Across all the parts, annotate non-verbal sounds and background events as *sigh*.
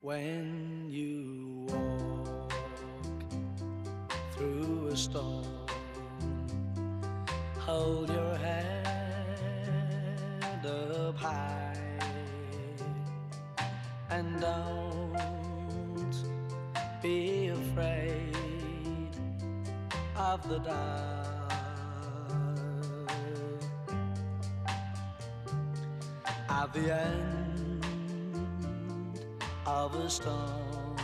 when you walk through a storm. Hold your head up high and don't be afraid of the dark. At the end of a storm,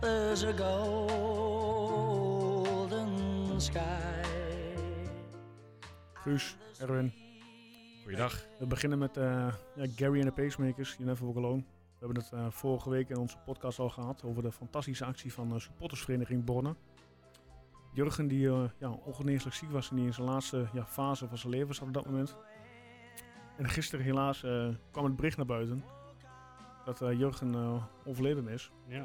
there's a golden sky. Guus, Erwin. Goeiedag. We beginnen met eh, ja, Gary en de Pacemakers, You Never Walk Alone. We hebben het eh, vorige week in onze podcast al gehad over de fantastische actie van eh, supportersvereniging Borne. Jurgen, die eh, ja, ongeneeslijk ziek was en die in zijn laatste ja, fase van zijn leven zat op dat moment. En gisteren helaas eh, kwam het bericht naar buiten dat eh, Jurgen eh, overleden is. Ja.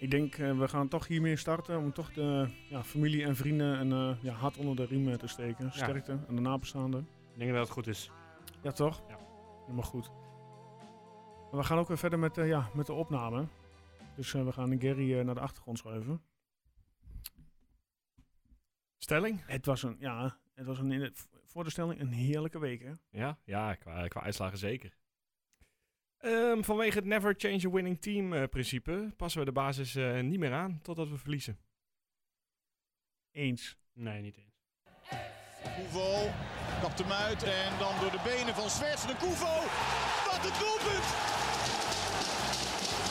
Ik denk, eh, we gaan toch hiermee starten om toch de ja, familie en vrienden een eh, ja, hart onder de riem eh, te steken. Sterkte aan de nabestaanden. Ik denk dat het goed is. Ja, toch? Ja. Helemaal goed. En we gaan ook weer verder met, eh, ja, met de opname. Dus eh, we gaan Gary eh, naar de achtergrond schuiven. Stelling? Het was een, ja, het was een, in het- voor de stelling een heerlijke week, hè? Ja, ja qua, qua uitslagen zeker. Ehm, vanwege het never change a winning team eh, principe passen we de basis eh, niet meer aan totdat we verliezen. Eens. Nee, niet eens. Koevo kapt hem uit en dan door de benen van Zwerts de Koevo. Wat een doelpunt!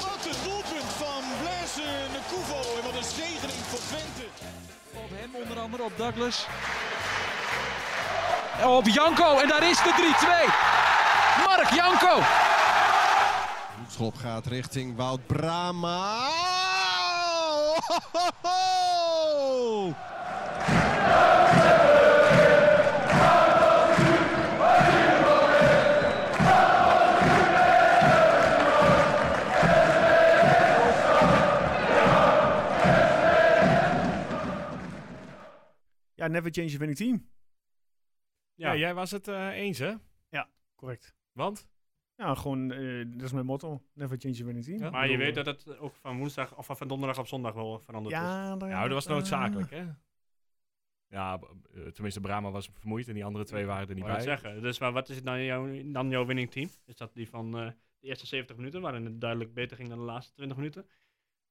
Wat een doelpunt van Blaise de Koevo en wat een zegening voor Twente. Op hem onder andere, op Douglas. En Op Janko, en daar is de 3-2. Mark Janko. Schop gaat richting Wout Brama. Ja, never change a winning team. Ja, jij was het eh, eens, hè? Correct. Want? Ja, gewoon, eh, dat is mijn motto. Never change a winning team. Ja. Maar je weet dat het ook van woensdag of van donderdag op zondag wel veranderd is. Ja, eh, daar- Nou, dat was noodzakelijk, hè? Ja, b- eh, tenminste, Brahma was vermoeid en die andere twee waren er niet Ik wou bij. het zeggen. Dus maar wat is het nou jouw, dan jouw winning team? Is dat die van eh, de eerste 70 minuten, waarin het duidelijk beter ging dan de laatste 20 minuten?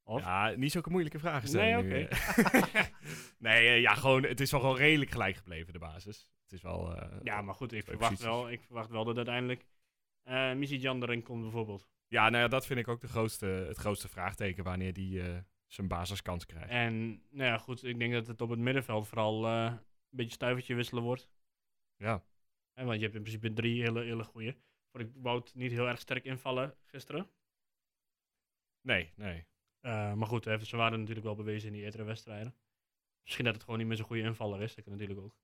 Of? Ja, niet zulke moeilijke vragen stellen Nee, nu, eh. *laughs* nee, eh, ja, gewoon, het is wel gewoon redelijk gelijk gebleven, de basis. Het is wel... eh, Ja, maar goed, ik Twee verwacht, posities. wel, ik verwacht wel dat uiteindelijk eh Missy Jan erin komt bijvoorbeeld. Ja, nou ja, dat vind ik ook de grootste, het grootste vraagteken wanneer die eh, zijn basiskans krijgt. En nou ja, goed, ik denk dat het op het middenveld vooral eh, een beetje stuivertje wisselen wordt. Ja. En want je hebt in principe drie hele, hele goede. Vond ik Wout niet heel erg sterk invallen gisteren. Nee, nee. Eh, maar goed, hè, ze waren natuurlijk wel bewezen in die eerdere wedstrijden. Misschien dat het gewoon niet meer zo'n goede invaller is, dat kan natuurlijk ook.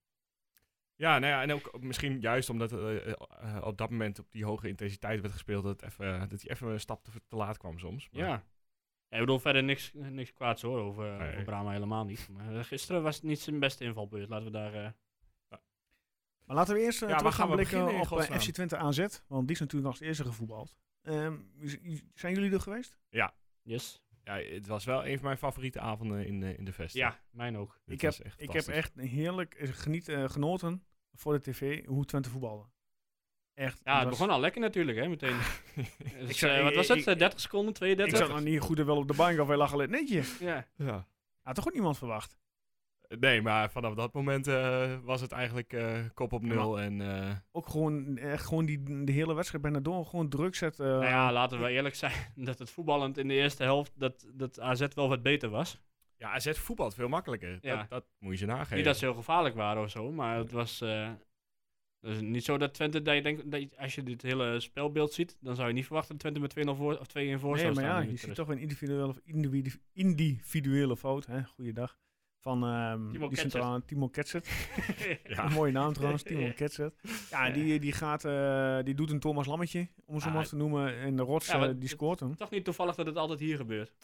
Ja, nou ja, en ook misschien juist omdat eh, eh, eh, op dat moment op die hoge intensiteit werd gespeeld, dat, het even, eh, dat hij even een stap te, te laat kwam soms. Maar- Ja, ik bedoel verder niks, niks kwaads hoor, over, Nee. over Brahma helemaal niet. Maar eh, gisteren was het niet zijn beste invalbeurt, laten we daar... eh, Maar laten we eerst eh, Ja, waar terug gaan gaan we blikken beginnen in op eh, godsnaam? FC Twente AZ. Want die is natuurlijk als eerste gevoetbald. Ehm, z- zijn jullie er geweest? yes. Ja, het was wel een van mijn favoriete avonden in, eh, in de vest. Ja, mijn ook. Dit Ik heb, was echt ik heb fantastisch. echt heerlijk eh, geniet, eh, genoten voor de tv hoe Twente voetbalde. Echt. Ja, het was- begon al lekker natuurlijk, hè, *laughs* meteen. Dus, Ik zou- eh, ik- wat was het? ik- Eh, 30 seconden, Ik 32? zat nog niet goed en wel op de bank of hij lag al in het netje. Ja. Ja. Had toch ook niemand verwacht. Eh, Nee, maar vanaf dat moment eh, was het eigenlijk eh, kop op nul. En, eh, Ook gewoon, echt gewoon die, de hele wedstrijd bijna door. Gewoon druk zetten. eh, Nou ja, laten we eerlijk zijn *laughs* dat het voetballend in de eerste helft, dat, dat AZ wel wat beter was. ja, AZ voetbalt veel makkelijker. Ja. Dat, dat moet je ze nageven. Niet dat ze heel gevaarlijk waren of zo, maar het was. eh, dus niet zo dat Twente, dat je denkt, dat je- als je dit hele spelbeeld ziet, dan zou je niet verwachten dat Twente met 2-0 voor, of 2-1 voor nee, zou maar staan. ja, in de je ziet rust. *laughs* toch een individuele, individu- individuele fout. Hè? Goeiedag. Van ehm die Timo Ketzer. centrale Timo *laughs* Ketzer. Ja. Een mooie naam trouwens, Timon Ja. Ketzer. Ja, die, die, gaat, eh, die doet een Thomas Lammetje, om het zo Ah, maar te noemen. En de Rots, ja, eh, wat- die scoort hem. Toch niet toevallig dat het altijd hier gebeurt.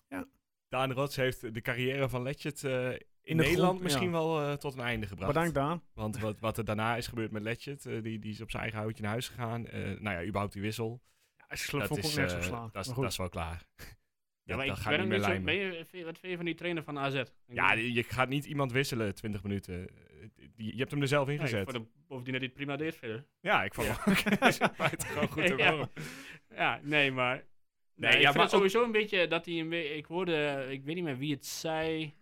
Daan Rots heeft de carrière van Letchet eh, in, de Nederland grond, misschien ja. wel eh, tot een einde gebracht. Bedankt, Daan. Want wat, wat er daarna is gebeurd met Letchet, eh, die, die is op zijn eigen houtje naar huis gegaan. Eh, nou ja, überhaupt die wissel. IJsselslap dat, vond ik ook is, nergens eh, op slaan. dat, is, maar goed. dat is wel klaar. *laughs* Ja, maar dat ik gaat niet ben meer niet zo, lijmen. ben je, vind je- wat vind je van die trainer van AZ? Ik Ja, bedoel, die- je gaat niet iemand wisselen 20 minuten. Eh, die- Je hebt hem er zelf in nee, gezet. voor de- Bovendien dat hij het prima *laughs* deed verder. Ja, ik vond hem Maar het gewoon *laughs* goed ook Ja. hoor. Ja, nee, maar... Nee, ja, ik vind maar het sowieso een beetje dat hij... Een be- ik hoorde... Ik weet niet meer wie het zei.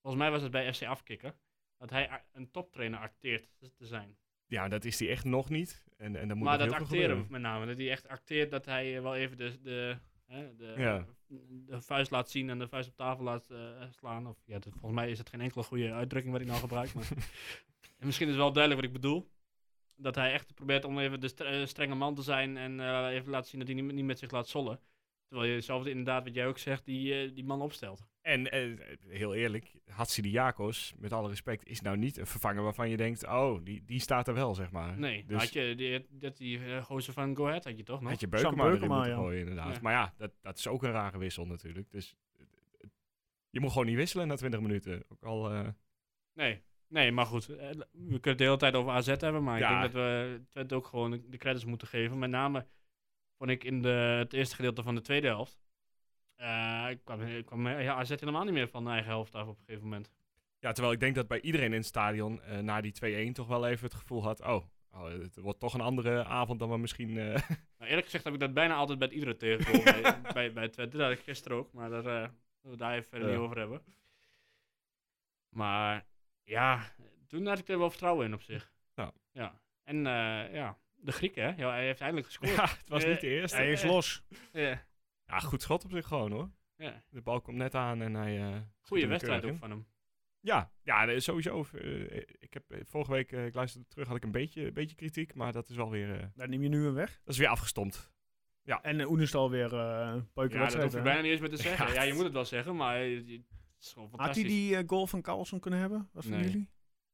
Volgens mij was het bij FC Afkikken. Dat hij a- een toptrainer acteert te zijn. Ja, dat is hij echt nog niet. En, en dan moet maar nog dat heel veel acteren gebeuren. met name. Dat hij echt acteert dat hij eh, wel even de, de, hè, de, Ja. de vuist laat zien en de vuist op tafel laat eh, slaan. Of, ja, dat- volgens mij is het geen enkele goede uitdrukking wat ik nou *laughs* gebruik. Maar en misschien is wel duidelijk wat ik bedoel. Dat hij echt probeert om even de stre- eh, strenge man te zijn en eh, even laten zien dat hij niet, niet met zich laat zollen. Terwijl je zelf inderdaad, wat jij ook zegt, die, eh, die man opstelt. En eh, heel eerlijk, Hatsidiakos, met alle respect, is nou niet een vervanger waarvan je denkt, oh, die, die staat er wel, zeg maar. Nee, dus had je die, dat die eh, gozer van Go Ahead had je toch nog? had je Sam Beukema erin Beukema, moeten ja. gooien, inderdaad. Ja. Maar ja, dat, dat is ook een rare wissel natuurlijk. Dus eh, eh, je moet gewoon niet wisselen na 20 minuten. Ook al, eh, Nee, nee, maar goed. eh, We kunnen het de hele tijd over AZ hebben, maar ik Ja. denk dat we Twente ook gewoon de- de credits moeten geven. Met name vond ik in de, het eerste gedeelte van de tweede helft. eh, kwam, kwam ja, AZ helemaal niet meer van de eigen helft af op een gegeven moment. ja, terwijl ik denk dat bij iedereen in het stadion eh, na die 2-1 toch wel even het gevoel had, oh, oh, het wordt toch een andere avond dan we misschien... eh, *laughs* Nou, eerlijk gezegd heb ik dat bijna altijd bij iedere tegengoal bij, bij, bij Twente. Dat had ik gisteren ook, maar daar eh, we daar even verder Ja. niet over hebben. Maar ja, toen had ik er wel vertrouwen in op zich. Ja. ja. En eh, ja, de Grieken, hè? Ja, hij heeft eindelijk gescoord. ja, het was Eh, niet de eerste. Hij is eh, los. Ja, Ja, goed schot op zich gewoon hoor. ja. De bal komt net aan en hij. eh, schiet hem Goede er wedstrijd keurig ook in. van hem. Ja, ja nee, sowieso. Eh, ik heb, eh, vorige week, eh, ik luisterde terug, had ik een beetje, een beetje kritiek. Maar dat is wel weer, eh, Daar neem je nu hem weg. dat is weer afgestompt. En uh, is alweer eh een Ja, peuken dat hoef wedstrijd. je hè? bijna niet eens meer te zeggen. Ja, Ja, je moet het wel zeggen, maar eh, het is gewoon Had hij fantastisch. die eh, goal van Carlsen kunnen hebben? Wat van Nee. jullie?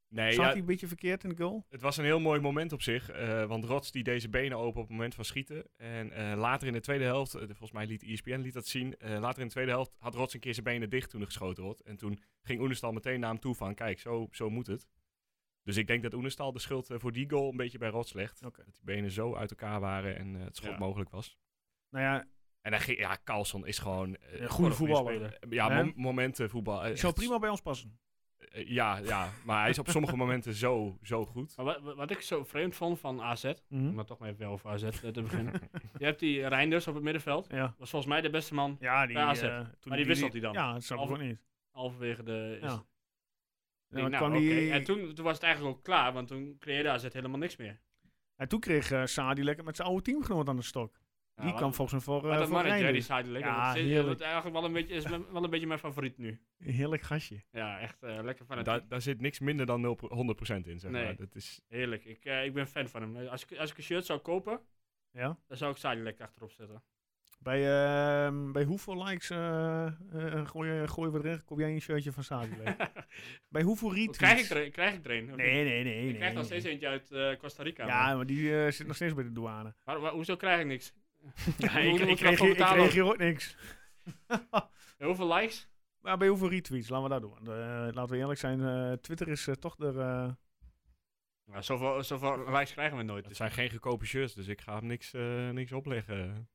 Nee, Zat ja, hij een beetje verkeerd in de goal? het was een heel mooi moment op zich. eh, want Rots die deze benen open op het moment van schieten. En eh, later in de tweede helft, eh, volgens mij liet ESPN liet dat zien. eh, later in de tweede helft had Rots een keer zijn benen dicht toen er geschoten wordt. En toen ging Oenestal meteen naar hem toe van, kijk, zo, zo moet het. Dus ik denk dat Oenestal de schuld eh, voor die goal een beetje bij Rots legt. Oké. Dat die benen zo uit elkaar waren en eh, het schot Ja. mogelijk was. Nou Eh, ja, En hij ging, ja, Carlson is gewoon... eh, een goede goede voetballer. speler. ja, Hè? mom- momenten voetbal. eh, Die zou echt- prima bij ons passen. eh, ja, ja, maar hij is op *laughs* sommige momenten zo, zo goed. Maar wa- wa- wat, ik zo vreemd vond van AZ, om Mhm. dat toch maar even wel over AZ te beginnen. je hebt die Reinders op het middenveld. Ja. Was volgens mij de beste man Ja, die, Bij AZ. eh, toen die wisselt hij dan. Ja, dat snap ik Of- ook niet. halverwege de... Ja. is- En, ik denk, dan nou, kwam oké. die- En toen, toen was het eigenlijk ook klaar, want toen creëerde AZ helemaal niks meer. en toen kreeg eh Saadi lekker met zijn oude teamgenoot aan de stok. Ja, die wat- kwam volgens mij voor, Wat eh, een voor mannetje, hè, die Reinders. Zuidelijk. Ja, dat is, heerlijk. dat is eigenlijk wel een beetje, is mijn- wel een beetje mijn favoriet nu. Heerlijk gastje. Ja, echt eh, lekker van het Daar, daar zit niks minder dan 0 pro- 100% in, zeg Nee. maar. Dat is, Heerlijk. Ik, eh, ik ben fan van hem. Eh, Als ik, als ik een shirt zou kopen, Ja. dan zou ik Zuidelijk achterop zetten. Bij, ehm, bij hoeveel likes eh, eh, gooien, gooien we erin? Kom jij een shirtje van Saadi *laughs* leuk? bij hoeveel retweets? Krijg ik, er, krijg ik er een? Of niet? Nee, nee, nee. Ik nee, krijg nog nee. steeds eentje uit eh, Costa Rica. Ja, maar- maar die eh, zit nog steeds bij de douane. Maar, maar hoezo krijg ik niks? *laughs* Ja, Hoe- ik, hoe ik, moet kreeg daarvoor hier, ik betalen? kreeg hier ook niks. *laughs* Hoeveel likes? maar bij hoeveel retweets? Laten we dat doen. Want, eh, laten we eerlijk zijn, eh, Twitter is eh, toch de... eh, Nou, zoveel, zoveel likes krijgen we nooit. het dus- zijn geen goedkope shirts, dus ik ga hem niks, eh, niks opleggen.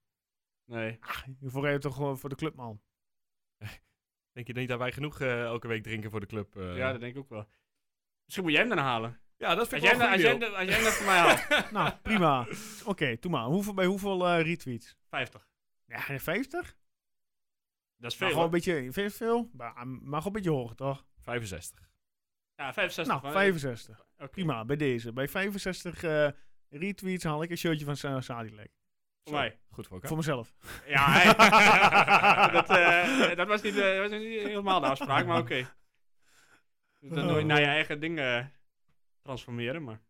nee. ah, hiervoor reden we toch gewoon voor de clubman. Denk je niet dat wij genoeg eh, elke week drinken voor de club? eh? Ja, dat denk ik ook wel. Misschien moet jij hem dan halen. ja, dat Als vind ik jij, wel hem- een als, goeie deal. jij, hem- als jij hem dan voor mij *laughs* haalt. *laughs* nou, prima. Oké, doe maar. Hoeveel, bij hoeveel eh, retweets? 50. Ja, 50? Dat is Maar veel. Nou, gewoon een hoor. beetje, vind je het veel? Maar, maar gewoon een beetje hoger, toch? 65. Ja, 65. nou, maar- 65. Oké. Prima, bij deze. Bij 65 eh, retweets haal ik een shirtje van Sa- Sadilek. Voor mij. Goed voor elkaar. Voor mezelf. *laughs* Ja, hey. dat, eh, dat was, niet, eh, was niet helemaal de afspraak, maar oké. Dus Dan nooit naar je Oh. eigen dingen eh, transformeren, maar...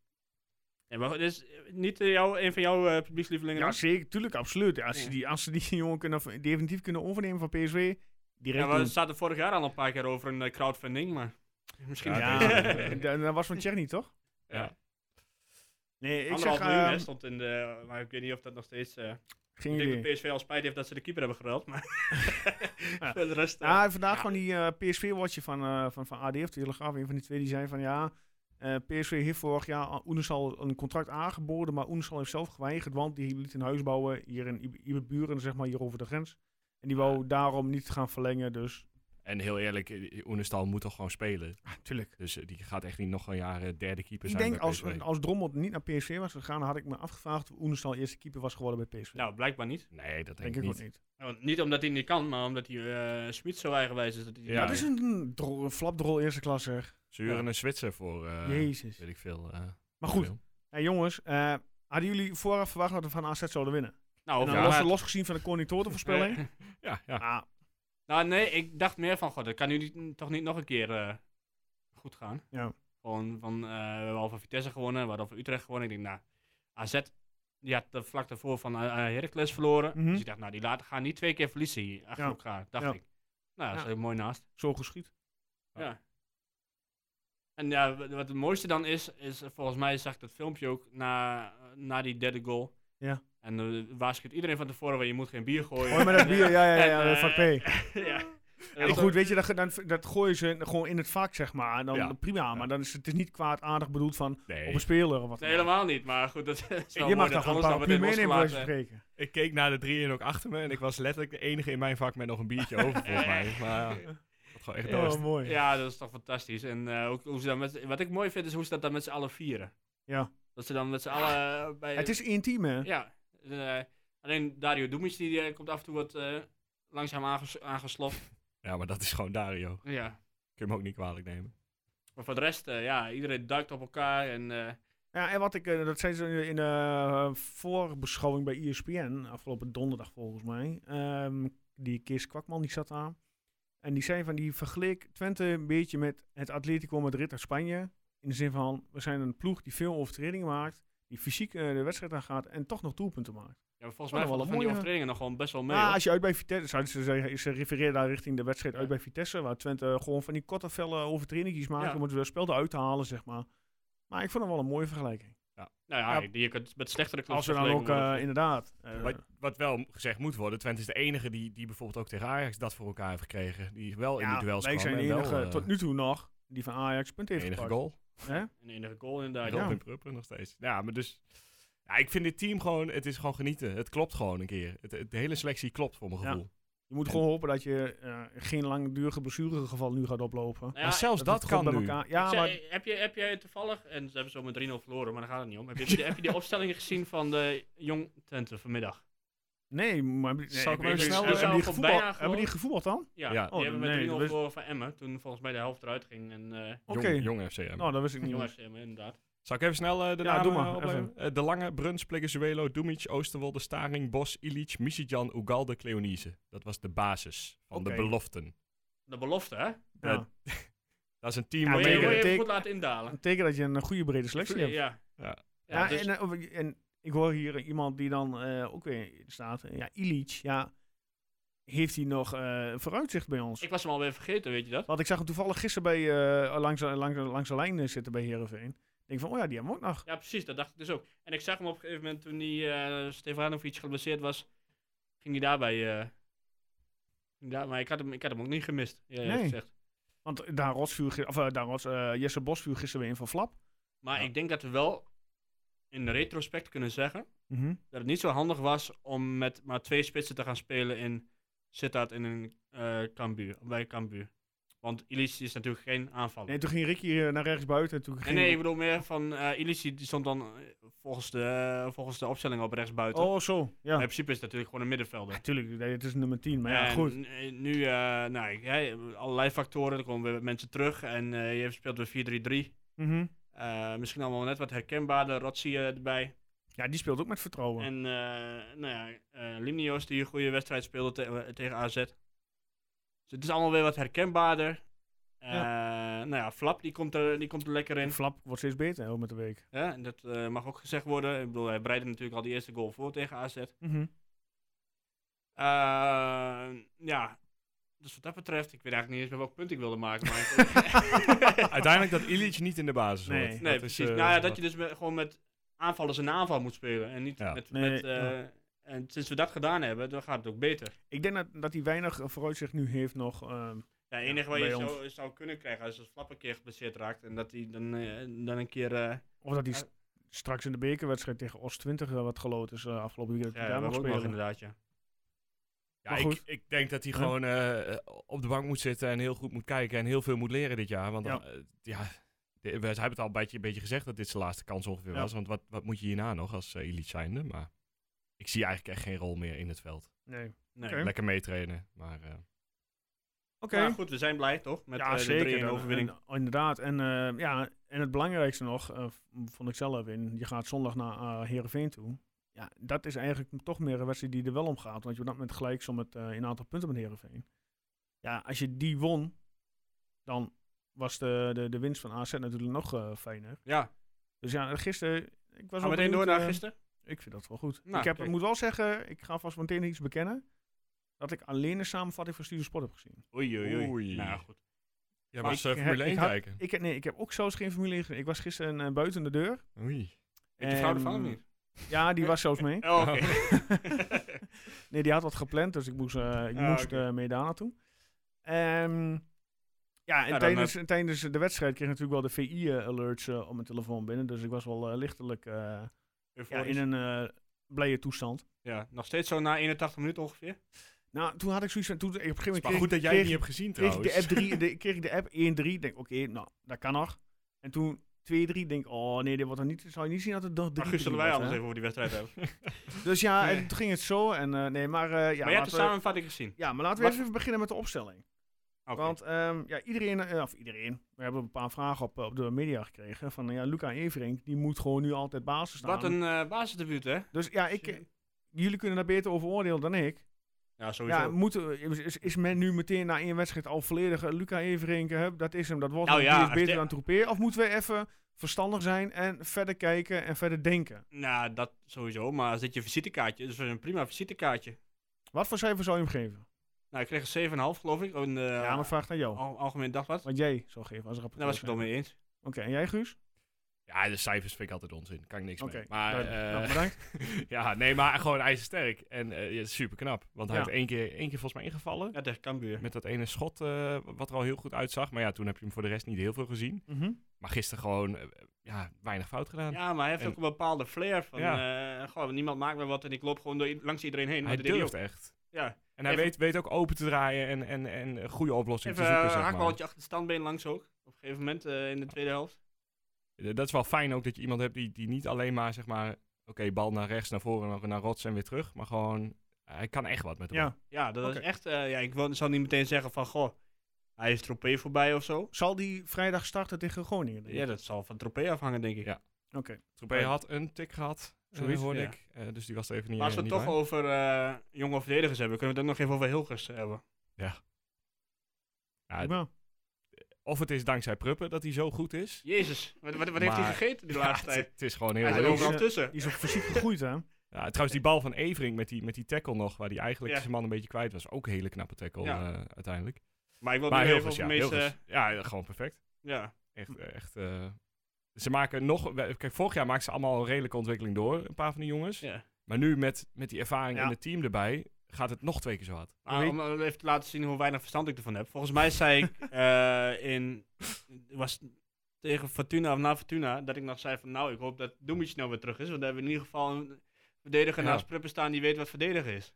Ja, maar goed, dus eh, niet eh, jouw, een van jouw eh publiekslievelingen? Ja, dan? zeker. Tuurlijk, absoluut. Ja, Als ze Ja. die, als ze die *laughs* jongen kunnen, v- definitief kunnen overnemen van PSV, direct Ja, we doen. zaten vorig jaar al een paar keer over een eh, crowdfunding, maar misschien... Ja, Ja. *laughs* dat- dat was van Tjerni, toch? Ja. Nee, ik zeg... Anderhalf miljoen hè, ehm, stond in de... Maar ik weet niet of dat nog steeds... eh, geen ik idee. denk dat PSV al spijt heeft dat ze de keeper hebben gereld, maar... *laughs* Ja. *laughs* Ah. Voor de rest... eh, Ja, vandaag ja. van die eh, PSV-watcher van, eh, van, van AD of Telegraaf, een van die twee, die zei van ja, Eh, PSV heeft vorig jaar Oenesal een contract aangeboden, maar Oenesal heeft zelf geweigerd, want die liet een huis bouwen hier in Ibe- Iberburen, zeg maar hier over de grens. En die wou daarom niet gaan verlengen, dus En heel eerlijk, eh, Oenestal moet toch gewoon spelen. natuurlijk. Dus eh, die gaat echt niet nog een jaar eh, derde keeper Ik zijn denk bij als, PSV. als Drommel niet naar PSV was gegaan, dan had ik me afgevraagd of Oenesal eerste keeper was geworden bij PSV. Nou, blijkbaar niet. Nee, denk, dat denk, ik ik ook niet. Nou, niet omdat hij niet kan, maar omdat hij eh Smit zo eigenwijs is. Dat hij Ja, Dat dat is een, dro- een flapdrol eerste klasse. zeg. Ze huren een Zwitser voor, eh, Jezus. weet ik veel. eh, Maar goed, veel. hey, jongens, eh, hadden jullie vooraf verwacht dat we van AZ zouden winnen? nou, En dan ja, los, maar- losgezien van de Cornitoren voorspelling. Ja, ja. Ah, Nou, nee, ik dacht meer van, god, dat kan nu niet, toch niet nog een keer eh, goed gaan. Ja. Gewoon van, eh, we hebben al van Vitesse gewonnen, we hadden al van Utrecht gewonnen. Ik denk, nou, AZ, die had de vlak daarvoor van eh, eh, Heracles verloren. Mhm. Dus ik dacht, nou, die laten, gaan niet twee keer verliezen hier achter Ja. elkaar, dacht Ja. ik. Nou, dat Ja. is mooi naast. zo *laughs* geschiet. Ja. En ja, wat wat het mooiste dan is, is eh, volgens mij zag ik dat filmpje ook na, eh, na die derde goal. Ja. En eh, waarschuwt iedereen van tevoren, "Wel, je moet geen bier gooien. Mooi met dat bier, ja, ja, ja, ja, En, dat eh, vak P. *laughs* ja. Ja, maar Ik- goed, weet je, dat, ge- dan, dat gooien ze gewoon in het vak, zeg maar. En dan, Ja. Prima, maar dan is het, het is niet kwaadaardig bedoeld van op Nee. een speler of wat. *laughs* Nee, dan ook. helemaal niet. Maar goed, dat is wel je mag mooi daar gewoon dat een alles dan paar meteen puur meenemen, bij wijze losgelaten. van spreken. Ik keek naar de drieën ook achter me en ik was letterlijk de enige in mijn vak met nog een biertje over, volgens mij. Maar ja, ik had gewoon echt dorst. Oh, mooi. Ja, dat is toch fantastisch. En eh, ook hoe ze dan met, wat ik mooi vind, is hoe ze dat dan met z'n allen vieren. Ja. Dat ze dan met z'n allen eh, bij... Het is intiem, hè? Ja. Eh, alleen Dario Dumic, die eh, komt af en toe wat eh, langzaam aanges aangesloft. Ja, maar dat is gewoon Dario. Kun ja. je hem ook niet kwalijk nemen. Maar voor de rest, eh, ja, iedereen duikt op elkaar en... eh, Ja, en wat ik, eh, dat zei ze in de eh, voorbeschouwing bij E ESPN, afgelopen donderdag volgens mij. ehm, die Kees Kwakman, die zat daar. En die zei van, die vergeleek Twente een beetje met het Atletico Madrid uit Spanje. In de zin van, we zijn een ploeg die veel overtredingen maakt, die fysiek eh, de wedstrijd aangaat en toch nog doelpunten maakt. ja, maar volgens Oh, dat mij wel vallen een van die mooie- overtredingen nog gewoon best wel mee. Maar hoor. als je uit bij Vitesse, zouden ze, zeggen- ze refereerden daar richting de wedstrijd uit Ja. bij Vitesse, waar Twente gewoon van die korte felle overtredingjes maakt Ja. om het spel eruit te halen, zeg maar. Maar ik vond het wel een mooie vergelijking. nou ja, ja. je kunt met slechtere Als clubs we dan ook, vergeleken worden. eh, inderdaad... eh, Wat, wat wel gezegd moet worden, Twente is de enige die, die bijvoorbeeld ook tegen Ajax dat voor elkaar heeft gekregen. Die wel in Ja, die duels Wij kwam zijn de en wel, enige, eh, tot nu toe nog, die van Ajax punt heeft enige gepakt. goal. Hè? Een enige goal inderdaad. Ja. Robin Prupper nog steeds. Ja, maar dus... Ja, ik vind dit team gewoon... Het is gewoon genieten. Het klopt gewoon een keer. Het, het- de hele selectie klopt, voor mijn Ja. Nou gevoel. Je moet gewoon hopen dat je eh, geen langdurige blessuregeval nu gaat oplopen. Nou ja, maar zelfs dat, het goed kan bij nu. elkaar- Ja, Ik maar zei, heb, je, heb jij toevallig, en ze hebben zo met 3-0 verloren, maar daar gaat het niet om. Heb je, die- heb je die opstellingen gezien van de Jong Twente vanmiddag? nee, maar nee, Zal ik hem weet even niet. snel- hebben, zou die gewoon gevoetbal, bijna hebben die gevoetbald dan? Ja, Ja. die Oh, hebben met nee, 3-0 dat is- verloren van Emmen, toen volgens mij de helft eruit ging. En eh Oké, Jong, jong FCM. nou dat wist ik niet. jongens, Emmen inderdaad. Zal ik even snel eh, Ja, de namen doe maar, eh, opnemen? Eh, de Lange, Bruns, Plegezuelo, Dumic, Oosterwolde, Staring, Bos, Ilic, Misitjan, Ugalde, Cleonise. Dat was de basis van Oké. de beloften. De belofte, hè? Ja. Eh, dat is een team... Ja, wat Moet je, teken- moet je even teken- goed laten indalen. Een teken dat je een goede brede selectie hebt. Ja. Ja. Ja, Ja, dus- en, eh, of- en ik hoor hier iemand die dan eh, ook weer staat. eh, Ja, Ilic, ja, heeft hij nog eh, vooruitzicht bij ons? ik was hem alweer vergeten, weet je dat? Want ik zag hem toevallig gisteren bij, eh, langs, langs, langs de lijn eh, zitten bij Heerenveen. Ik denk van, oh ja, die hebben we ook nog. Ja, precies, dat dacht ik dus ook. En ik zag hem op een gegeven moment toen die eh Stefanovic geblesseerd was, ging hij daarbij. eh ging daar, maar ik had, hem, ik had hem ook niet gemist. Ja, Nee. gezegd. Want daar rots, vuur, gi- of, eh, daar rots eh, Jesse Bos vuur gisteren weer in van Flap. Maar Ja. ik denk dat we wel in retrospect kunnen zeggen Mhm. dat het niet zo handig was om met maar twee spitsen te gaan spelen in Sittard en in eh Cambuur, bij Cambuur. Want Ilisi is natuurlijk geen aanvaller. Nee, toen ging Ricky eh, naar rechts buiten. en Toen Nee, ging... nee, ik bedoel meer van eh Ilisi die stond dan eh, volgens de, eh, volgens de opstelling op rechtsbuiten. Oh, zo. Ja, Maar in principe is het natuurlijk gewoon een middenvelder. natuurlijk. nee, het is nummer 10. Maar ja, En goed. n- Nu, eh, nou, ik- hè, allerlei factoren, er komen weer mensen terug en eh, je speelt weer 4-3-3. Mhm. Eh, misschien allemaal net wat herkenbaarder, Rotsi eh, erbij. Ja, die speelt ook met vertrouwen. En eh, nou ja, eh, Limnios die een goede wedstrijd speelde te- eh, tegen AZ. Dus het is allemaal weer wat herkenbaarder. Eh, Nou ja, Flap die komt, er, die komt er lekker in. En Flap wordt steeds beter hè, met de week. Ja, en dat eh, mag ook gezegd worden. Ik bedoel, hij breidde natuurlijk al die eerste goal voor tegen AZ. Mhm. Eh, ja, dus wat dat betreft, ik weet eigenlijk niet eens meer welk punt ik wilde *laughs* maken. Maar *laughs* Uiteindelijk dat Ilic niet in de basis Nee. hoort. Dat nee, is, precies. eh, nou ja, dat wat- je dus met- gewoon met aanvallers een aanval moet spelen. En niet Ja. met... Nee, met eh, ja. En sinds we dat gedaan hebben, dan gaat het ook beter. Ik denk dat, dat hij weinig eh, vooruitzicht nu heeft nog. ehm, Ja, het enige wat je bij ons. zou, zou kunnen krijgen is als Flap een keer geblesseerd raakt en dat hij dan, eh, dan een keer... eh, Of dat hij Ja. st- straks in de bekerwedstrijd tegen Oost 20 eh, wat geloot is eh, afgelopen weekend. dat ja, hij daar dat mag ook nog spelen. inderdaad, ja. Ja, Maar ik, goed. ik denk dat hij Ja. gewoon eh, op de bank moet zitten en heel goed moet kijken en heel veel moet leren dit jaar. Want Ja. ja, ja de- we hebben het al een beetje, een beetje gezegd dat dit zijn laatste kans ongeveer Ja. was. Want wat, wat moet je hierna nog als eh, elite zijnde? Maar ik zie eigenlijk echt geen rol meer in het veld. Nee. Nee. Oké. Lekker meetrainen, maar... eh, Oké. Maar goed, we zijn blij toch? Met eh, ja, de zeker. 3-1 En- overwinning. en- inderdaad. En, eh, ja, en het belangrijkste nog, eh, v- vond ik zelf in, je gaat zondag naar eh Heerenveen toe. Ja, dat is eigenlijk toch meer een wedstrijd die er wel om gaat. Want je wordt op dat moment gelijk zo met eh, een aantal punten met Heerenveen. Ja, als je die won, dan was de, de, de winst van AZ natuurlijk nog eh, fijner. ja, Dus ja, gisteren... Ik was gaan we wel meteen door benieuwd, naar eh, gisteren? Ik vind dat wel goed. Nou, ik heb, kijk. ik moet wel zeggen, ik ga vast meteen iets bekennen. Dat ik alleen de samenvatting van Studio Sport heb gezien. Oei, Oei. Nou goed. Ja, Maar ik was eh, heb- Formule ik 1 had- kijken. Ik, heb- nee, ik heb ook zelfs geen Formule 1 gezien. Ik was gisteren eh, buiten de deur. Oei. Weet je vrouw ervan of Ehm, *laughs* niet? Ja, die was *laughs* zelfs mee. Oh, oké. nee, die had wat gepland, dus ik moest, eh, ik Ah, moest oké. eh, mee daar naartoe. Ehm, *laughs* ja, en Nou, dan, tijdens, eh, tijdens de wedstrijd kreeg ik natuurlijk wel de VI-alerts eh, op mijn telefoon binnen. Dus ik was wel eh, lichtelijk eh, ja, in Euforisch. een eh, blije toestand. Ja, nog steeds zo na 81 minuten ongeveer. Nou, toen had ik zoiets van... Toen, ik op een gegeven Het moment is maar kreeg- goed dat jij kreeg- het niet hebt gezien kreeg ik trouwens. de app 3, *laughs* de, kreeg ik de app 1-3. Denk, oké, nou, dat kan nog. En toen 2-3, denk, oh nee, dit wordt dan niet. Zou je niet zien dat het nog 3 Maar Guus, zullen wij anders even over die *laughs* wedstrijd hebben. Dus ja, Nee. en toen ging het zo. En, eh, nee, maar, eh, ja, maar jij hebt de laten we, samenvatting gezien. ja, maar laten we Wat- even beginnen met de opstelling. Oké. Want ehm, ja, iedereen, eh, of iedereen, we hebben een paar vragen op, eh, op de media gekregen. Van eh, ja, Luca Everink, die moet gewoon nu altijd basis staan. Wat een eh basisdebuut, hè? Dus Nou, ja, ik, eh, jullie kunnen daar beter over oordelen dan ik. Ja, Nou, sowieso. Ja, moeten we- is- is, is men nu meteen na één wedstrijd al volledig eh, Luca Everink, eh, hup, dat is hem, dat wordt Nou hem, ja, die is als beter de- dan Troepé? Of moeten we even verstandig zijn en verder kijken en verder denken? Nou, dat sowieso. Maar als dit je visitekaartje is, is een prima visitekaartje. Wat voor cijfer zou je hem geven? Nou, ik kreeg een 7,5 geloof ik. In de ja, maar vraag naar jou. al, algemeen dagblad. Wat jij zou geven als rapporteur. Daar Oh. Nou, was ik het wel mee eens. Oké, en jij Guus? Ja, de cijfers vind ik altijd onzin. Kan ik niks Oké, mee. Maar, duidelijk. eh, Nou, *laughs* bedankt. *laughs* ja, nee, maar gewoon ijzersterk. En eh ja, super knap. Want hij Ja. heeft één keer, één keer volgens mij ingevallen. Ja, tegen Cambuur. Met dat ene schot, eh, wat er al heel goed uitzag. Maar ja, toen heb je hem voor de rest niet heel veel gezien. Mhm. Maar gisteren gewoon eh, ja, weinig fout gedaan. Ja, maar hij heeft En- ook een bepaalde flair van... eh, goh, niemand maakt me wat en ik loop gewoon door, langs iedereen heen. hij Maar dat deed durft ook. echt. Ja, En hij Even- weet, weet ook open te draaien en, en, en eh, goede oplossingen even te zoeken. een Zeg maar. haakballetje achter de standbeen langs ook. Op een gegeven moment eh, in de tweede helft. Eh, Dat is wel fijn ook dat je iemand hebt die, die niet alleen maar, zeg maar... Oké, bal naar rechts, naar voren, naar, naar rots en weer terug. Maar gewoon, hij kan echt wat met de bal. Ja. Ja, dat Oké. is echt... eh, ja, ik wil- zal niet meteen zeggen van... Goh, hij is Tropee voorbij of zo. Zal die vrijdag starten tegen Groningen? denk je? Ja, dat zal van Tropee afhangen, denk ik. Ja. Oké. Troepé Ja. had een tik gehad, eh, Zoiets, hoorde ja. ik. Eh, dus die was er even niet, Maar als we eh, het niet toch bij. over eh, jonge verdedigers hebben, kunnen we het ook nog even over Hilgers hebben. Ja, prima. Of het is dankzij Pruppen dat hij zo goed is. Jezus, wat, wat, wat heeft hij Maar- gegeten de Ja, laatste het- tijd? Het is gewoon heel Hij maar zit die leuk. is, overal eh, tussen. Die is ook *laughs* fysiek gegroeid, hè? Nou, Ja, trouwens, die bal van Evering met die, met die tackle nog, waar hij eigenlijk Ja. zijn man een beetje kwijt was. Ook een hele knappe tackle Ja. eh, uiteindelijk. Maar ik wil Maar nu heel even goed, over ja, de meest... Hilgers. eh, ja, gewoon perfect. ja. Echt, Hm. eh, echt eh, ze maken nog... we- Kijk, vorig jaar maakten ze allemaal een redelijke ontwikkeling door, een paar van die jongens. ja. Maar nu met, met die ervaring Ja. in het team erbij, gaat het nog twee keer zo hard. Maar om eh, even te laten zien hoe weinig verstand ik ervan heb. Volgens mij *laughs* zei ik eh, in... Was tegen Fortuna of na Fortuna, dat ik nog zei van... Nou, ik hoop dat Doemitje nou weer terug is. Want dan hebben we in ieder geval een verdediger Ja. naast Pruppen staan die weet wat verdedigen is.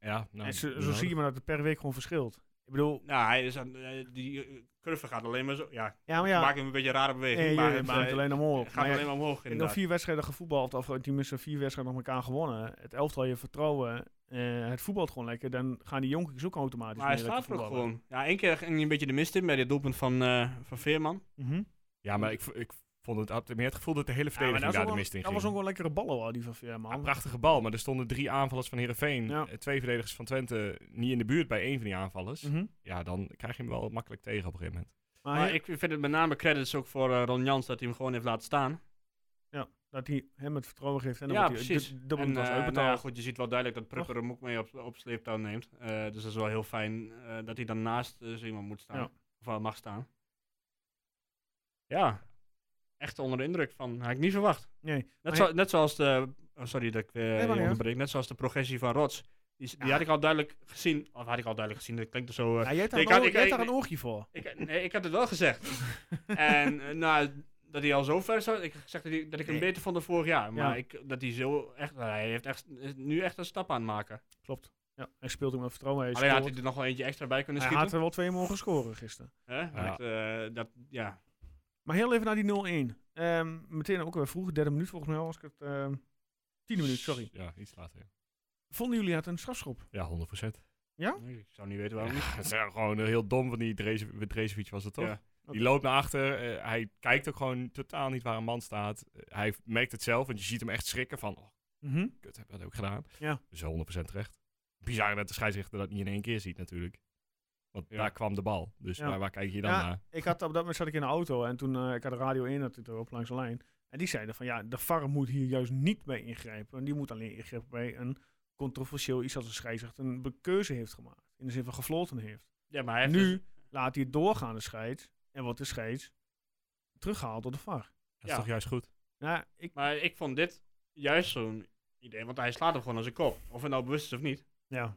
Ja, nou, en zo, niet zo nodig. zie je maar dat het per week gewoon verschilt. Ik bedoel, Nou, hij is aan, eh, die eh, curve gaat alleen maar zo... Ja, ja, maar ja. Nou ja. maakt hem een beetje een rare beweging. nee, maar je het, maakt eh, alleen omhoog. gaat Maar ja, alleen maar omhoog Ik heb nog inderdaad. vier wedstrijden gevoetbald, of eh, tenminste vier wedstrijden nog elkaar gewonnen. Het elftal je vertrouwen, eh, het voetbalt gewoon lekker, dan gaan die jonkies ook automatisch Maar hij meer lekker staat er ook voetballen. gewoon. Ja, één keer ging hij een beetje de mist in bij dit doelpunt van, eh, van Veerman. Mhm. Ja, maar ik, v- ik vond het, had meer het gevoel dat de hele Ja, maar dat verdediging was daar ook de wel- mist in Dat ging. was ook wel een lekkere ballen, hoor, die van Veerman. Ja, prachtige bal, maar er stonden drie aanvallers van Herenveen, Ja. twee verdedigers van Twente, niet in de buurt bij één van die aanvallers. Mhm. Ja, dan krijg je hem wel makkelijk tegen op een gegeven moment. Maar, Maar he- ik vind het met name credits ook voor eh, Ron Jans dat hij hem gewoon heeft laten staan. dat hij hem het vertrouwen geeft en dan ja, wordt hij precies. du- dubbel en, was eh, uitbetaald. nou ja, goed, je ziet wel duidelijk dat Prupper hem ook mee op, op sleeptouw neemt. Eh, dus dat is wel heel fijn eh, dat hij dan naast eh, zo iemand moet staan. Ja. Of eh, mag staan. Ja, echt onder de indruk van. Had ik niet verwacht. Nee, Net, Maar zo- net zoals de. oh, sorry dat ik eh, maar je niet uit. onderbreek. Net zoals de progressie van Rots. Die, is- die had ik al duidelijk gezien. Of had ik al duidelijk gezien, dat klinkt er zo... eh, Ja, jij hebt daar, Ik een had- oor- ik- jij hebt ik- daar een oortje voor. ik, nee, ik had het wel gezegd. en eh, nou, dat hij al zo ver zou... Ik zeg dat, hij- dat ik hem Nee. beter vond dan vorig jaar. Maar Ja. ik, dat hij zo echt... nou, Hij heeft echt, is nu echt een stap aan het maken. Klopt. Ja, hij speelt hem met vertrouwen. Hij, Alleen had scoort. hij er nog wel eentje extra bij kunnen hij schieten. had er wel twee mogen scoren gisteren. Hè? Met, eh, dat, ja. Maar heel even naar die 0-1. Ehm, meteen ook weer vroeg, derde minuut volgens mij was ik het. ehm tiende minuut, sorry. Ja, iets later. ja. Vonden jullie het een strafschop? Ja, 100 procent. Ik zou niet weten waarom. *laughs* niet. Het is eh, gewoon eh, heel dom van die Dreze- Drezevic was het toch? Ja. Die loopt naar achter. eh, hij kijkt ook gewoon totaal niet waar een man staat. Eh, hij merkt het zelf, want je ziet hem echt schrikken van... Oh, Mhm. kut, heb ik dat ook gedaan? Ja. Dus 100% terecht. Bizar dat de scheidsrechter dat niet in één keer ziet natuurlijk. Want Ja. daar kwam de bal. Dus Ja. waar, waar kijk je dan Ja. naar? Ik had, op dat moment zat ik in de auto en toen eh ik had de radio in natuurlijk op langs de lijn. En die zeiden van ja, de VAR moet hier juist niet bij ingrijpen. En die moet alleen ingrijpen bij een controversieel iets als een scheidsrechter een be- keuze heeft gemaakt. In de zin van gefloten heeft. Ja, maar hij heeft Nu dus- laat hij het doorgaan, de scheids. En wordt de scheids teruggehaald door de VAR. Dat Ja. is toch juist goed? Nou, ik, maar ik vond dit juist zo'n idee. Want hij slaat hem gewoon aan zijn kop. Of het nou bewust is of niet. ja.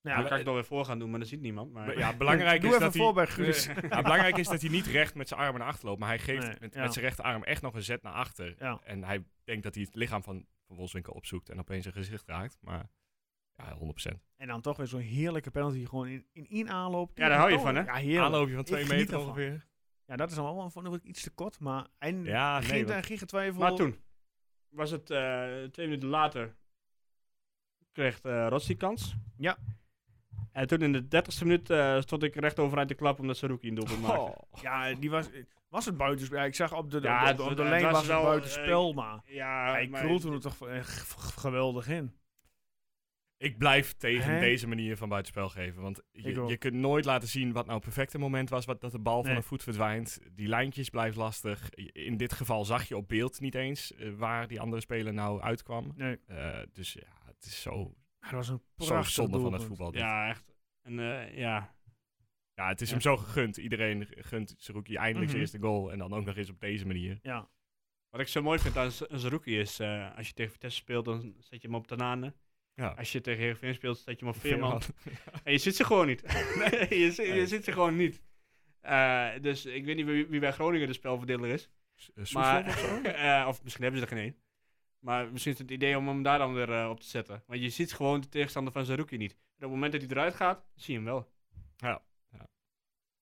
Ja, Nou, dan kan ik nog weer voor gaan doen, maar dat ziet niemand. Maar, Maar *laughs* *laughs* Ja, belangrijk Doe is even dat voor hij... bij Guus. Ja, nou, belangrijk is dat hij niet recht met zijn arm naar achter loopt. Maar hij geeft Nee, met, ja. met zijn rechterarm echt nog een zet naar achter. Ja. En hij denkt dat hij het lichaam van, van Wolfswinkel opzoekt en opeens zijn gezicht raakt. Maar ja, 100%. En dan toch weer zo'n heerlijke penalty. Gewoon in, in één aanloop. Ja, daar hou je van, hè? Ja, heerlijk. Aanloopje van Ik twee geniet meter ervan. ongeveer. Ja, dat is dan wel vond ik iets te kort. Maar en Ja, nee. geen, want- geen getwijfel. maar toen was het eh, twee minuten later. Kreeg eh Rots die kans. Ja. En toen in de dertigste minuut eh, stond ik recht overeind te klappen omdat Saruki een doelpunt maakte. Oh. Ja, die was, was het buitenspel. Ja, ik zag op de, Oh. Ja, op het de, op de was- het lijn was was het wel, eh, buitenspel, maar... Ja, Hij maar- krulde er toch echt geweldig in. Ik blijf tegen Hè? deze manier van buitenspel geven. Want Ik je, ook. je kunt nooit laten zien wat nou het perfecte moment was. Wat, dat de bal Nee. van een voet verdwijnt. Die lijntjes blijven lastig. In dit geval zag je op beeld niet eens eh, waar die andere speler nou uitkwam. Nee, Eh, dus ja, het is zo, dat was een zo prachtig zonde van het doelpunt. voetbal. dit. Ja, echt. En eh, ja. Ja, het is Ja. hem zo gegund. Iedereen gunt Saruki eindelijk Mhm. zijn eerste goal. En dan ook nog eens op deze manier. Ja, Wat ik zo mooi vind aan Z- Saruki is, eh, als je tegen Vitesse speelt, dan zet je hem op Tanane. Ja. Als je tegen Heerenveen speelt, zet je hem op Veerman. En je ziet ze gewoon niet. *laughs* Nee, je, zi- je Nee. ziet ze gewoon niet. Eh, dus ik weet niet wie, wie bij Groningen de spelverdeler is. Eh, Soeslof Maar, of zo? *laughs* eh, of misschien hebben ze er geen één. Maar misschien is het idee om hem daar dan weer eh, op te zetten. Want je ziet gewoon de tegenstander van Zaruki niet. En op het moment dat hij eruit gaat, zie je hem wel.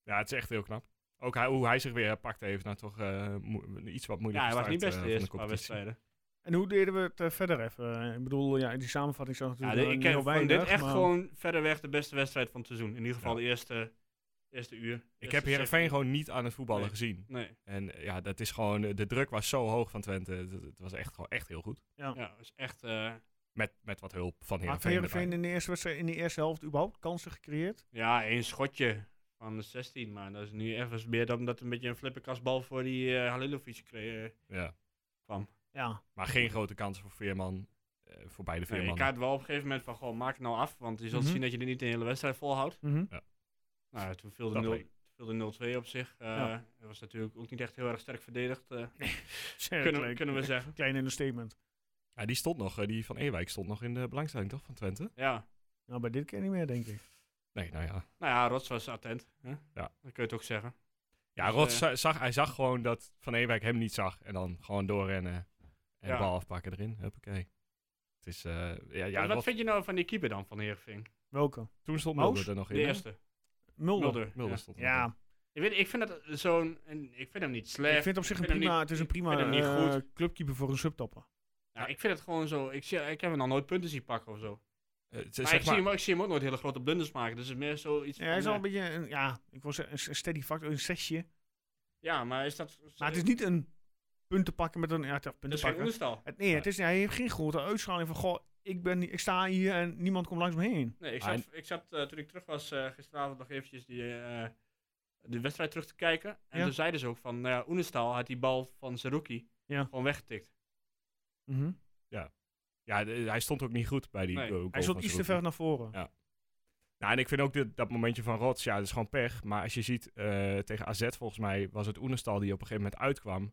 Ja, het is echt heel knap. Ook hij, hoe hij zich weer herpakt heeft. Nou, toch eh, moe- iets wat Ja, moeilijker hij was niet best eh, de de eerste paar wedstrijden. en hoe deden we het eh, verder even? Eh, Ik bedoel, ja, die samenvatting zag Ja, natuurlijk dit- wel ik niet ken- heel vond dit weinig, echt maar- gewoon verreweg de beste wedstrijd van het seizoen. In ieder geval Ja. de eerste, eerste uur. Ik Eerste heb Heerenveen 16. gewoon niet aan het voetballen Nee. gezien. Nee, En eh, ja, dat is gewoon, eh, de druk was zo hoog van Twente. Het, het was echt, gewoon echt heel goed. ja, het is echt... eh, Met, met wat hulp van Had Heerenveen. erbij. Heerenveen in de, eerste, wedstrijd- in de eerste helft überhaupt kansen gecreëerd? Ja, één schotje van de 16, maar dat is nu even meer dan dat een beetje een flipperkastbal voor die eh Halilovic kreeg. Ja. Ja, Maar geen grote kans voor Veerman. eh, voor beide Nee, Veerman. ik had wel op een gegeven moment van, goh, maak het nou af, want je zult Mhm. zien dat je er niet de hele wedstrijd volhoudt. *laughs* mhm. Nou, ja, toen viel de Dat nul- bleek. viel de 0-2 op zich. Eh, Ja. Dat was natuurlijk ook niet echt heel erg sterk verdedigd, eh, Zeer kunnen, we- leuk. kunnen we zeggen. Klein understatement. ja, die stond nog, eh, die van Ewijk stond nog in de belangstelling toch van Twente? Ja. Nou, bij dit keer niet meer, denk ik. Nee, nou ja. Nou ja, Rots was attent. Hè? Ja. Dat kun je het ook zeggen. Ja, Dus, Rots eh, za- zag, hij zag gewoon dat Van Ewijk hem niet zag. En dan gewoon doorrennen. En Ja. de bal afpakken erin. Huppakee. Het is, eh, ja, ja Maar wat Rots- vind je nou van die keeper dan, van Heerenveen? Welke? toen stond Maus? Mulder er nog De in. hè? eerste, Mulder. Mulder. Mulder ja. stond er nog in. Ja, Ik, weet, ik vind dat zo'n... en Ik vind hem niet slecht. ik vind het op zich een vind hem prima, niet- het is een ik vind hem prima niet eh, goed. clubkeeper voor een subtopper. Nou, ik vind het gewoon zo... Ik, zie, ik heb hem nog nooit punten zien pakken of zo. Eh, z- zeg Maar ik, maar- zie hem, ik zie hem ook nooit hele grote blunders maken. Dus het is meer zoiets. Ja, hij is van, al een eh, beetje een, ja, ik wil zeggen, een s- een steady factor, een zesje. ja, maar is dat. Maar het is niet een punt te pakken met een, ja, het is dat punten is Dus geen pakken. onderstal. Het, nee, het is, hij heeft geen grote uitschaling van, goh, ik, ben, ik sta hier en niemand komt langs me heen. Nee, ik Ah, zat, ik zat eh, toen ik terug was eh, gisteravond nog eventjes die, eh, de wedstrijd terug te kijken. En Ja. toen zeiden ze ook van, nou ja, Oenestal had die bal van Zerouki Ja. gewoon weggetikt. Mhm. Ja, de- hij stond ook niet goed bij die eh, Nee, goal. Hij van stond iets te Zerouki. ver naar voren. Ja. Nou, en ik vind ook dit, dat momentje van Rots, ja, dat is gewoon pech. Maar als je ziet, eh, tegen AZ volgens mij was het Oenestal die op een gegeven moment uitkwam.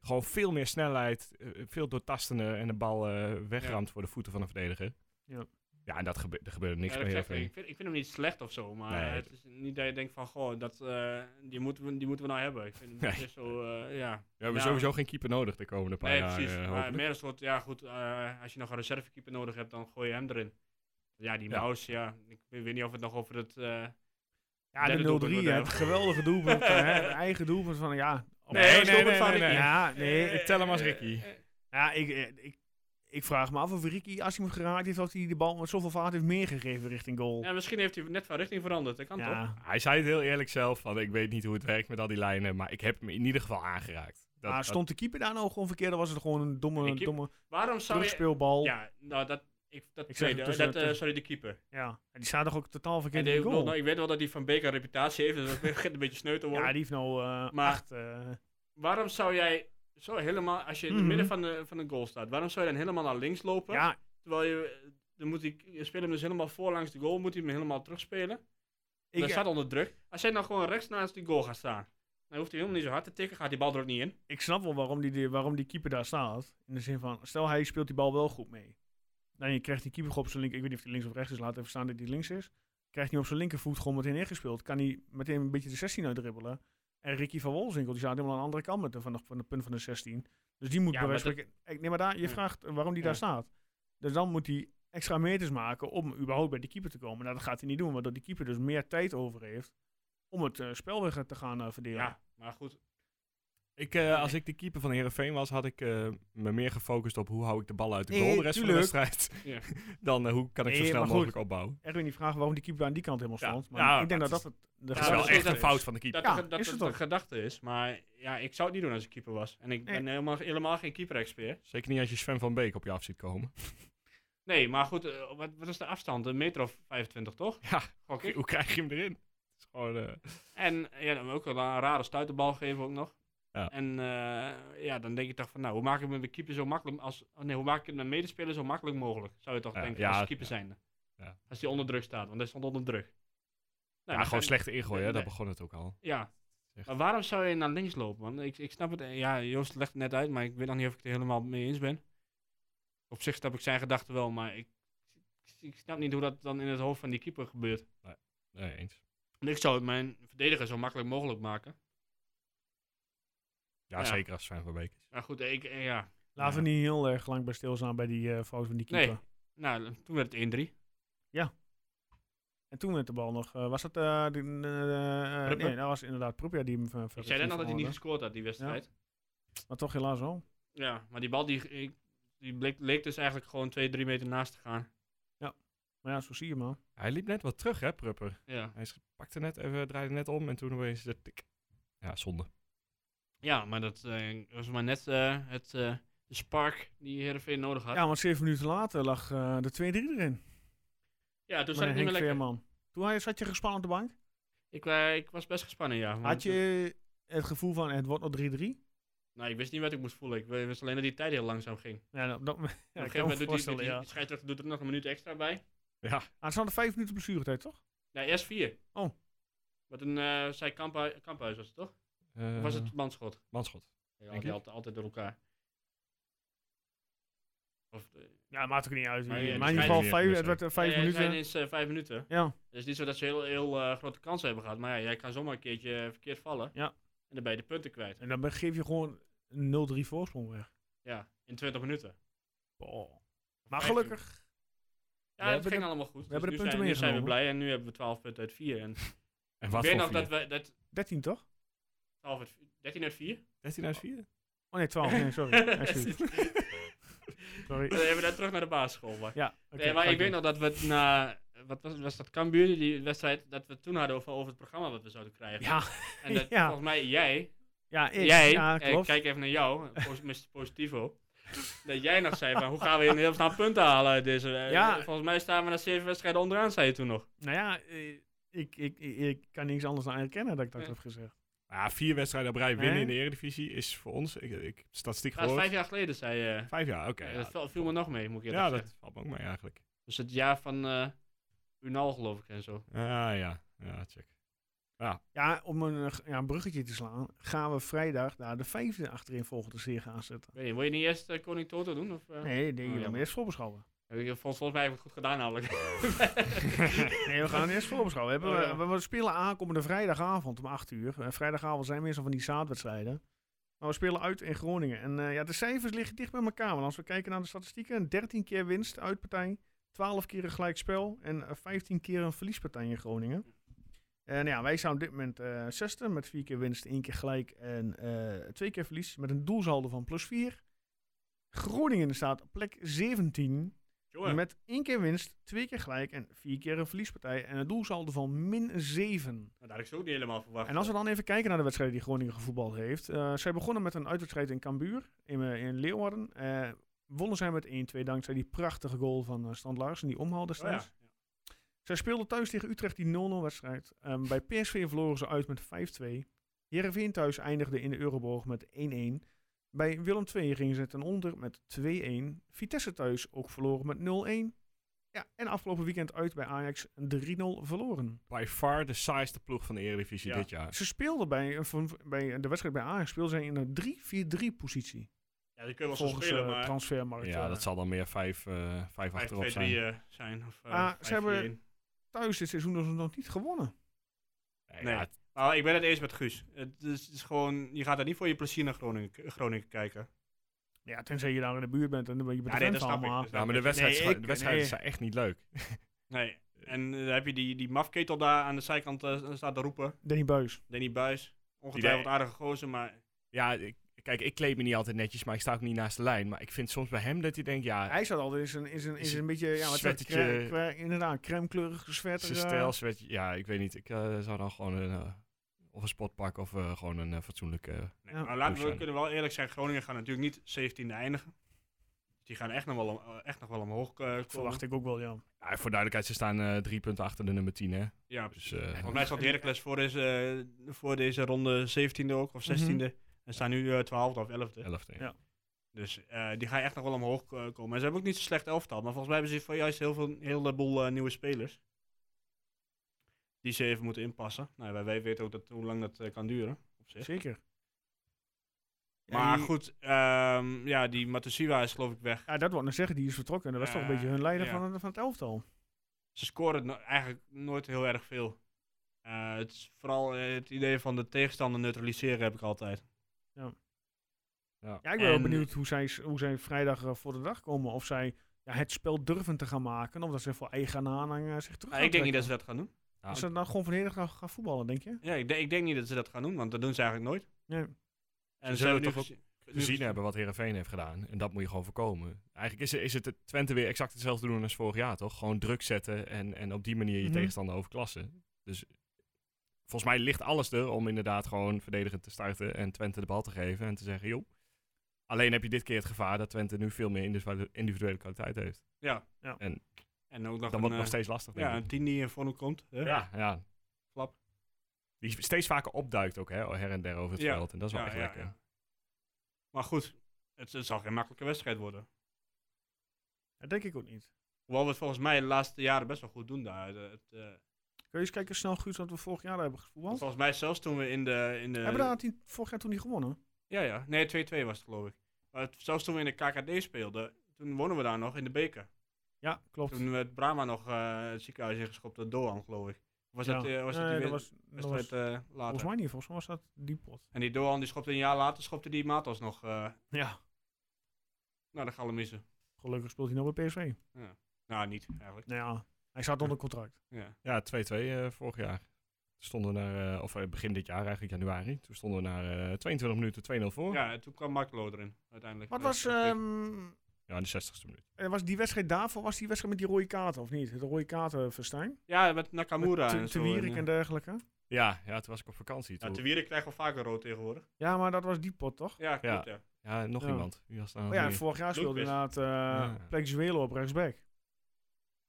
Gewoon veel meer snelheid, eh, veel doortastender en de bal eh, wegramd voor de voeten van de verdediger. Ja. Ja, en dat gebe er gebeurde niks Ja, dat meer. ik, zeg, ik, vind, ik vind hem niet slecht of zo, maar Nee, het is niet dat je denkt van, goh, dat, eh, die, moeten we, die moeten we nou hebben. Ik vind Nee. het is zo, eh, ja. We hebben Ja. sowieso geen keeper nodig de komende paar Nee, jaar. precies. eh, maar hopelijk. meer een soort, ja goed, eh, als je nog een reservekeeper nodig hebt, dan gooi je hem erin. Ja, die Ja. Maus, ja, ik weet weet niet of het nog over het... eh, Ja, derde de 0-3, doelpunt hè, wordt, het geweldige doelpunt. hè, het eigen doelpunt van, ja... Nee, nee, doelpunt nee, van nee, Ricky. nee. Ja, nee. Eh, ik tel hem als eh, Ricky. eh, eh, Ja, ik, eh, ik, ik vraag me af of Ricky, als hij hem geraakt heeft, of hij de bal met zoveel vaart heeft meegegeven richting goal. Ja, misschien heeft hij net van richting veranderd, dat kan toch? Ja. Hij zei het heel eerlijk zelf, van ik weet niet hoe het werkt met al die lijnen, maar ik heb hem in ieder geval aangeraakt. Dat, maar dat- stond de keeper daar nou gewoon verkeerd? Dan was het gewoon een domme, Die keep- domme Waarom zou je... terugspeelbal. Ja. Ja, nou, dat... Ik, dat Ik zeg het tweede, dus eh, tussen- dat, eh, tussen- sorry, de keeper. En die staat toch ook totaal En verkeerd die- in ik, de bedoel, goal? nou, ik weet wel dat die Van Beek een reputatie heeft, dus dat begint een beetje sneu te worden. ja, die heeft nou eh Maar- acht... eh, waarom zou jij zo helemaal, als je in het Mhm. midden van de, van de goal staat, waarom zou je dan helemaal naar links lopen? ja, Terwijl je, eh, dan moet die, je speelt hem dus helemaal voor langs de goal, moet hij hem helemaal terugspelen. ik, hij staat onder druk. Als jij nou gewoon rechts naast die goal gaat staan, dan hoeft hij helemaal niet zo hard te tikken, gaat die bal er ook niet in. ik snap wel waarom die- die, waarom die keeper daar staat. In de zin van, stel hij speelt die bal wel goed mee. Dan je krijgt die keeper gewoon op zijn linker... Ik weet niet of hij links of rechts is, laat even staan dat hij links is. Krijgt hij op zijn linkervoet gewoon meteen ingespeeld. Kan hij meteen een beetje de 16 uitdribbelen. En Ricky van Wolzinkel, die staat helemaal aan de andere kant met de, van, de, van de punt van de 16. Dus die moet Ja, bij maar wijze van spreken- Ik- Nee, maar daar, je Ja. vraagt eh, waarom die Ja. daar staat. Dus dan moet hij extra meters maken om überhaupt bij die keeper te komen. Nou, dat gaat hij niet doen, waardoor die keeper dus meer tijd over heeft om het eh, spel weer te gaan eh, verdelen. Ja, maar goed. Ik, eh, als ik de keeper van Herenveen was, had ik eh, me meer gefocust op hoe hou ik de bal uit de Nee, goal de rest tuurlijk. van de wedstrijd. *laughs* Ja. *laughs* Dan eh, hoe kan ik zo Nee, snel maar goed. mogelijk opbouwen. Erwin die vraag waarom die keeper aan die kant helemaal Ja. stond. Maar Ja, ik denk maar dat dat het de Dat Ja, is wel dat is echt dat een is- fout van de keeper. Dat, Ja, de- dat is het het een ook. gedachte is, maar ja, ik zou het niet doen als ik keeper was. En ik Nee. ben helemaal, helemaal geen keeper-expert. Zeker niet als je Sven van Beek op je af ziet *laughs* komen. Nee, maar goed, eh, wat, wat is de afstand? Een meter of 25, toch? Ja, Gok ik. hoe krijg je hem erin? Het is gewoon, Nou, eh, En eh, ja, dan ook wel een rare stuiterbal geven ook nog. Ja. En eh, ja, dan denk je toch van, nou, hoe maak ik het met de keeper zo makkelijk als, oh nee, hoe maak ik het met mijn medespeler zo makkelijk mogelijk? Zou je toch Ja, denken ja, als keeper ja. zijnde. Ja. Als die onder druk staat, want hij stond onder druk. Nou, ja, dan gewoon ga- slechte ingooi, hè? Nee. daar begon het ook al. Ja. Echt. Maar waarom zou je naar links lopen? Want ik, ik snap het, eh, ja, Joost legt het net uit, maar ik weet nog niet of ik het er helemaal mee eens ben. Op zich snap ik zijn gedachten wel, maar ik, ik snap niet hoe dat dan in het hoofd van die keeper gebeurt. Nee, eens. Want ik zou het mijn verdediger zo makkelijk mogelijk maken. Ja, Ja. zeker als Sven van Beek is. Maar goed, ik, eh, ja, Laten we niet heel erg lang bij stilstaan bij die eh, fout van die keeper. Nee. Nou, toen werd het 1-3. En toen werd de bal nog. eh, was dat. eh, die- eh, eh, Pruppen? nee, dat was inderdaad Proepia die hem. ver- ver- Ik zei net nog dat hij niet verloren. gescoord had, die wedstrijd. Maar toch helaas wel. Ja, maar die bal die, ik- die bleek, leek dus eigenlijk gewoon 2, 3 meter naast te gaan. Maar ja, zo zie je maar. Hij liep net wat terug, hè, Prupper? Ja, Hij is- pakte net even, draaide net om en toen opeens de tik. Ja, zonde. ja maar dat eh, was maar net eh, het, eh, de spark die Heerenveen nodig had. Ja, Ja, want zeven minuten later lag eh, de 2-3 erin. toen met zat ik niet Henk meer lekker. Veerman. Toen hij- zat je gespannen op de bank. Ik, eh, ik was best gespannen, ja. want, Had je het gevoel van het wordt nog 3-3? eh, Nou, ik wist niet wat ik moest voelen. Ik w- wist alleen dat die tijd heel langzaam ging. Ja, op dat *laughs* moment. Op Ja, een ik gegeven kan me moment doet die, voorstellen, die, ja. die scheidsrechter doet er nog een minuut extra bij. Ja, Ah, het hadden vijf minuten blessuretijd, toch? Ja, eerst vier. Oh. Wat een, eh zei Kamphu- Kamphuis was het, toch? Eh, Of was het Manschot? Manschot. Ja, Denk die ik. altijd, altijd door elkaar. Of, eh, Ja, maakt ook niet uit. Maar ja, die maar in ieder geval, schijnen vijf, weer het werd eh, vijf ja, ja, het minuten. zijn eens, eh, vijf minuten. Ja. Het is niet zo dat ze heel, heel eh, grote kansen hebben gehad. Maar ja, jij kan zomaar een keertje eh, verkeerd vallen. Ja. En dan ben je de punten kwijt. En dan be- geef je gewoon een 0-3 voorsprong weg. Ja, in 20 minuten. Maar Vijf gelukkig, We Ja, dat hebben ging de- allemaal goed. We hebben de nu punten zijn, nu zijn we meegenomen. blij en nu hebben we 12 punten uit 4. En En ik wat weet voor nog vier? dat we... Dat 13 toch? 12 uit, 13 uit 4? 13 uit 4? Oh nee, 12. Nee, *laughs* sorry. Excuus. we *laughs* sorry. hebben daar terug naar de basisschool. Maar, Ja, oké, nee, maar ga ik weet doen. nog dat we het na... Wat was, was dat Cambuur, die wedstrijd? Dat we het toen hadden over, over het programma wat we zouden krijgen. Ja, en dat *laughs* ja. volgens mij jij ja, ik. jij, ja, eh, klopt. kijk even naar jou, eh, pos- Mr. Positivo. dat jij nog zei van hoe gaan we een heel snel punten halen uit deze. *laughs* eh, Ja. Volgens mij staan we na zeven wedstrijden onderaan, zei je toen nog. Nou ja, eh, ik, ik, ik, ik kan niks anders aan herkennen dat ik dat Ja. heb gezegd. Ja, vier wedstrijden op rij winnen Nee. in de Eredivisie is voor ons, ik, ik statistiek Dat is gehoord, vijf vijf, jaar geleden, zei je. jaar, oké. Ja, ja, dat viel- viel me nog mee, moet ik eerlijk ja, zeggen. dat valt me ook mee eigenlijk. Dus het jaar van eh Unal, geloof ik, en zo. Ah, ja, ja, check. Ja, om een, eh, g- ja, een bruggetje te slaan, gaan we vrijdag daar de vijfde achterin volgende serie gaan zetten. Weet je, wil je niet eerst eh, Koning Toto doen? Of, eh? Nee, die Oh, wil je jammer. eerst voorbeschouwen. Heb ik- Volgens, volgens mij heb ik het goed gedaan namelijk. *laughs* Nee, we gaan eerst voorbeschouwen. We, hebben, Oh, ja. we, we spelen aankomende vrijdagavond om 8 uur. En vrijdagavond zijn meestal van die zaadwedstrijden. Maar we spelen uit in Groningen. En eh, ja, de cijfers liggen dicht bij elkaar. Want als we kijken naar de statistieken, 13 keer winst uitpartij, 12 keer een gelijkspel en eh, 15 keer een verliespartij in Groningen. En ja, wij staan op dit moment eh zesde met 4 keer winst, 1 keer gelijk en eh 2 keer verlies. Met een doelsaldo van plus 4. Groningen staat op plek 17 met één keer winst, twee keer gelijk en vier keer een verliespartij. En het doelsaldo van min 7. dat Nou, had ik zo ook niet helemaal verwacht. En als we dan even kijken naar de wedstrijden die Groningen gevoetbald heeft. eh, zij begonnen met een uitwedstrijd in Cambuur, in, eh, in Leeuwarden. Eh, wonnen zij met 1-2 dankzij die prachtige goal van eh, Strand Larsen, die omhaal Oh, ja. destijds. Zij speelden thuis tegen Utrecht die 0-0 wedstrijd. Ehm, bij PSV verloren ze uit met 5-2. Heerenveen thuis eindigde in de Euroborg met 1-1. Bij Willem II gingen ze ten onder met 2-1. Vitesse thuis ook verloren met 0-1. Ja, en afgelopen weekend uit bij Ajax een 3-0 verloren. By far de saaiste ploeg van de Eredivisie Ja. dit jaar. Ze speelden bij, een van- bij de wedstrijd bij Ajax speelden zij in een 3-4-3 positie. ja, die kunnen we wel zo Volgens spelen, eh, maar transfermarkt. Ja, eh. dat zal dan meer 5 eh vijf 5, achterop 2, zijn. 3 zijn. Of, eh, Ah, ze 5-4-1. hebben- Thuis dit seizoen hebben ze nog niet gewonnen. Nee, eh, Nee. ja, het- Maar Nou, ik ben het eens met Guus. Het is, het is gewoon, je gaat daar niet voor je plezier naar Groningen, eh, Groningen kijken. Ja, tenzij je daar in de buurt bent en dan ben je Ja, nee, bekend dat snap ik. allemaal. dat snap ja, Nou, maar de ik. wedstrijden Nee, ik- de wedstrijden nee. zijn echt niet leuk. Nee. En eh, dan heb je die, die mafketel daar aan de zijkant eh, staat te roepen. Danny Buis. Danny Buis. Ongetwijfeld Die- aardige gozer, maar Ja, ik, kijk, ik kleed me niet altijd netjes, maar ik sta ook niet naast de lijn. Maar ik vind soms bij hem dat hij denkt, ja, Hij zat altijd in zijn, in zijn, in Is zijn een beetje, ja, wat werd het, sweatertje. cra- cra- inderdaad, crèmekleurige sweater. zijn eh. stijl, zwet- ja, ik weet niet. Ik eh, zou dan gewoon een, eh, of een spot pakken of eh, gewoon een eh, fatsoenlijke... Nee, Ja. maar laten we Hoezo? kunnen wel eerlijk zijn, Groningen gaan natuurlijk niet 17e eindigen. Die gaan echt nog wel, om- eh, echt nog wel omhoog eh, komen. Verwacht ik ook wel, ja. Ja, voor duidelijkheid, ze staan eh, drie punten achter de nummer 10, hè. Ja, precies. Dus, eh, Volgens mij zat Heracles voor deze, eh, voor deze ronde 17e ook, of Mhm. 16e. En staan nu eh 12e of 11e. 11 tegen. Ja. Dus eh, die gaan echt nog wel omhoog eh, komen. En ze hebben ook niet zo'n slecht elftal, maar volgens mij hebben ze voor juist heel veel, een heleboel eh, nieuwe spelers. Die ze even moeten inpassen. Nou, wij, wij weten ook dat, hoe lang dat eh, kan duren. Op zich. Zeker. Maar die- goed, ehm, ja, die Matusiwa is geloof ik weg. Ja, dat wil ik nou zeggen, die is vertrokken. En dat was toch een Ja, beetje hun leider ja. van, van het elftal. ze scoren no- eigenlijk nooit heel erg veel. Eh, het is vooral eh, het idee van de tegenstander neutraliseren heb ik altijd. Ja, ik ben wel En- benieuwd hoe zij, s- hoe zij vrijdag eh, voor de dag komen. Of zij ja, het spel durven te gaan maken. Of dat ze voor eigen aanhang eh, zich terug Maar gaan ik denk trekken. niet dat ze dat gaan doen. dat- Is dat nou gewoon vanmiddag gaan, gaan voetballen, denk je? Ja, ik, denk- ik denk niet dat ze dat gaan doen, want dat doen ze eigenlijk nooit. Nee. En zullen hebben toch nu gezi- nu gezien gezi- hebben wat Heerenveen heeft gedaan. En dat moet je gewoon voorkomen. Eigenlijk is, is het het Twente weer exact hetzelfde doen als vorig jaar, toch? Gewoon druk zetten en, en op die manier je Mhm. tegenstander overklassen. Dus volgens mij ligt alles er om inderdaad gewoon verdedigend te starten en Twente de bal te geven en te zeggen, joh. Alleen heb je dit keer het gevaar dat Twente nu veel meer individuele, individuele kwaliteit heeft. Ja. Ja. En En ook nog Dan een, wordt het nog eh, steeds lastig, denk ja, ik. een tien die voor hem komt. hè? Ja, ja. Flap. Die steeds vaker opduikt ook, hè, her en der over het Ja. veld. En dat is wel Ja, echt ja, lekker. ja. Maar goed, het, het zal geen makkelijke wedstrijd worden. Dat denk ik ook niet. Hoewel we het volgens mij de laatste jaren best wel goed doen daar. De- het, eh, Kun je eens kijken snel, Guus, wat we vorig jaar hebben gevoetbald? volgens mij zelfs toen we in de... In de hebben we daar tien- vorig jaar toen niet gewonnen? Ja, ja. Nee, 2-2 was het, geloof ik. Maar het- zelfs toen we in de KKD speelden, toen wonnen we daar nog in de beker. Ja, klopt. Toen werd Brahma nog eh, het ziekenhuis ingeschopt door Doan, geloof ik. Of Was Ja. dat, eh, was dat Nee, die dat wed- was, dat was- wedstrijd eh, volgens later? mij niet. Volgens mij was dat die pot. En die Doan die schopte een jaar later, schopte die Matos nog eh Ja. naar de galamissen. Gelukkig speelt hij nog bij PSV. Nou, niet eigenlijk. Nou ja, hij staat onder contract. Ja. Ja, 2-2 eh, vorig jaar. Toen Stonden we naar, eh, of eh, begin dit jaar eigenlijk, januari. Toen stonden we naar eh, 22 minuten 2-0 voor. Ja, ja, en toen kwam Marklo erin uiteindelijk. Oh. Wat Ja, was, dat- ehm, in de 60ste minuut. eh, was die wedstrijd daarvoor? Was die wedstrijd met die rode kaarten of niet? Het rode kaartenfestijn? ja, met Nakamura Te- en Te zo. Wierik en, en dergelijke. Ja, ja, toen was ik op vakantie. ja, Toen, te Wierik krijgt wel vaker rood tegenwoordig. Ja, maar dat was die pot toch? Ja, klopt ja. ja, nog Ja. iemand. Wie was nou daar Oh nog ja, en meer? vorig jaar speelde Doelpist. inderdaad eh Ja. Plex Welo op rechtsback.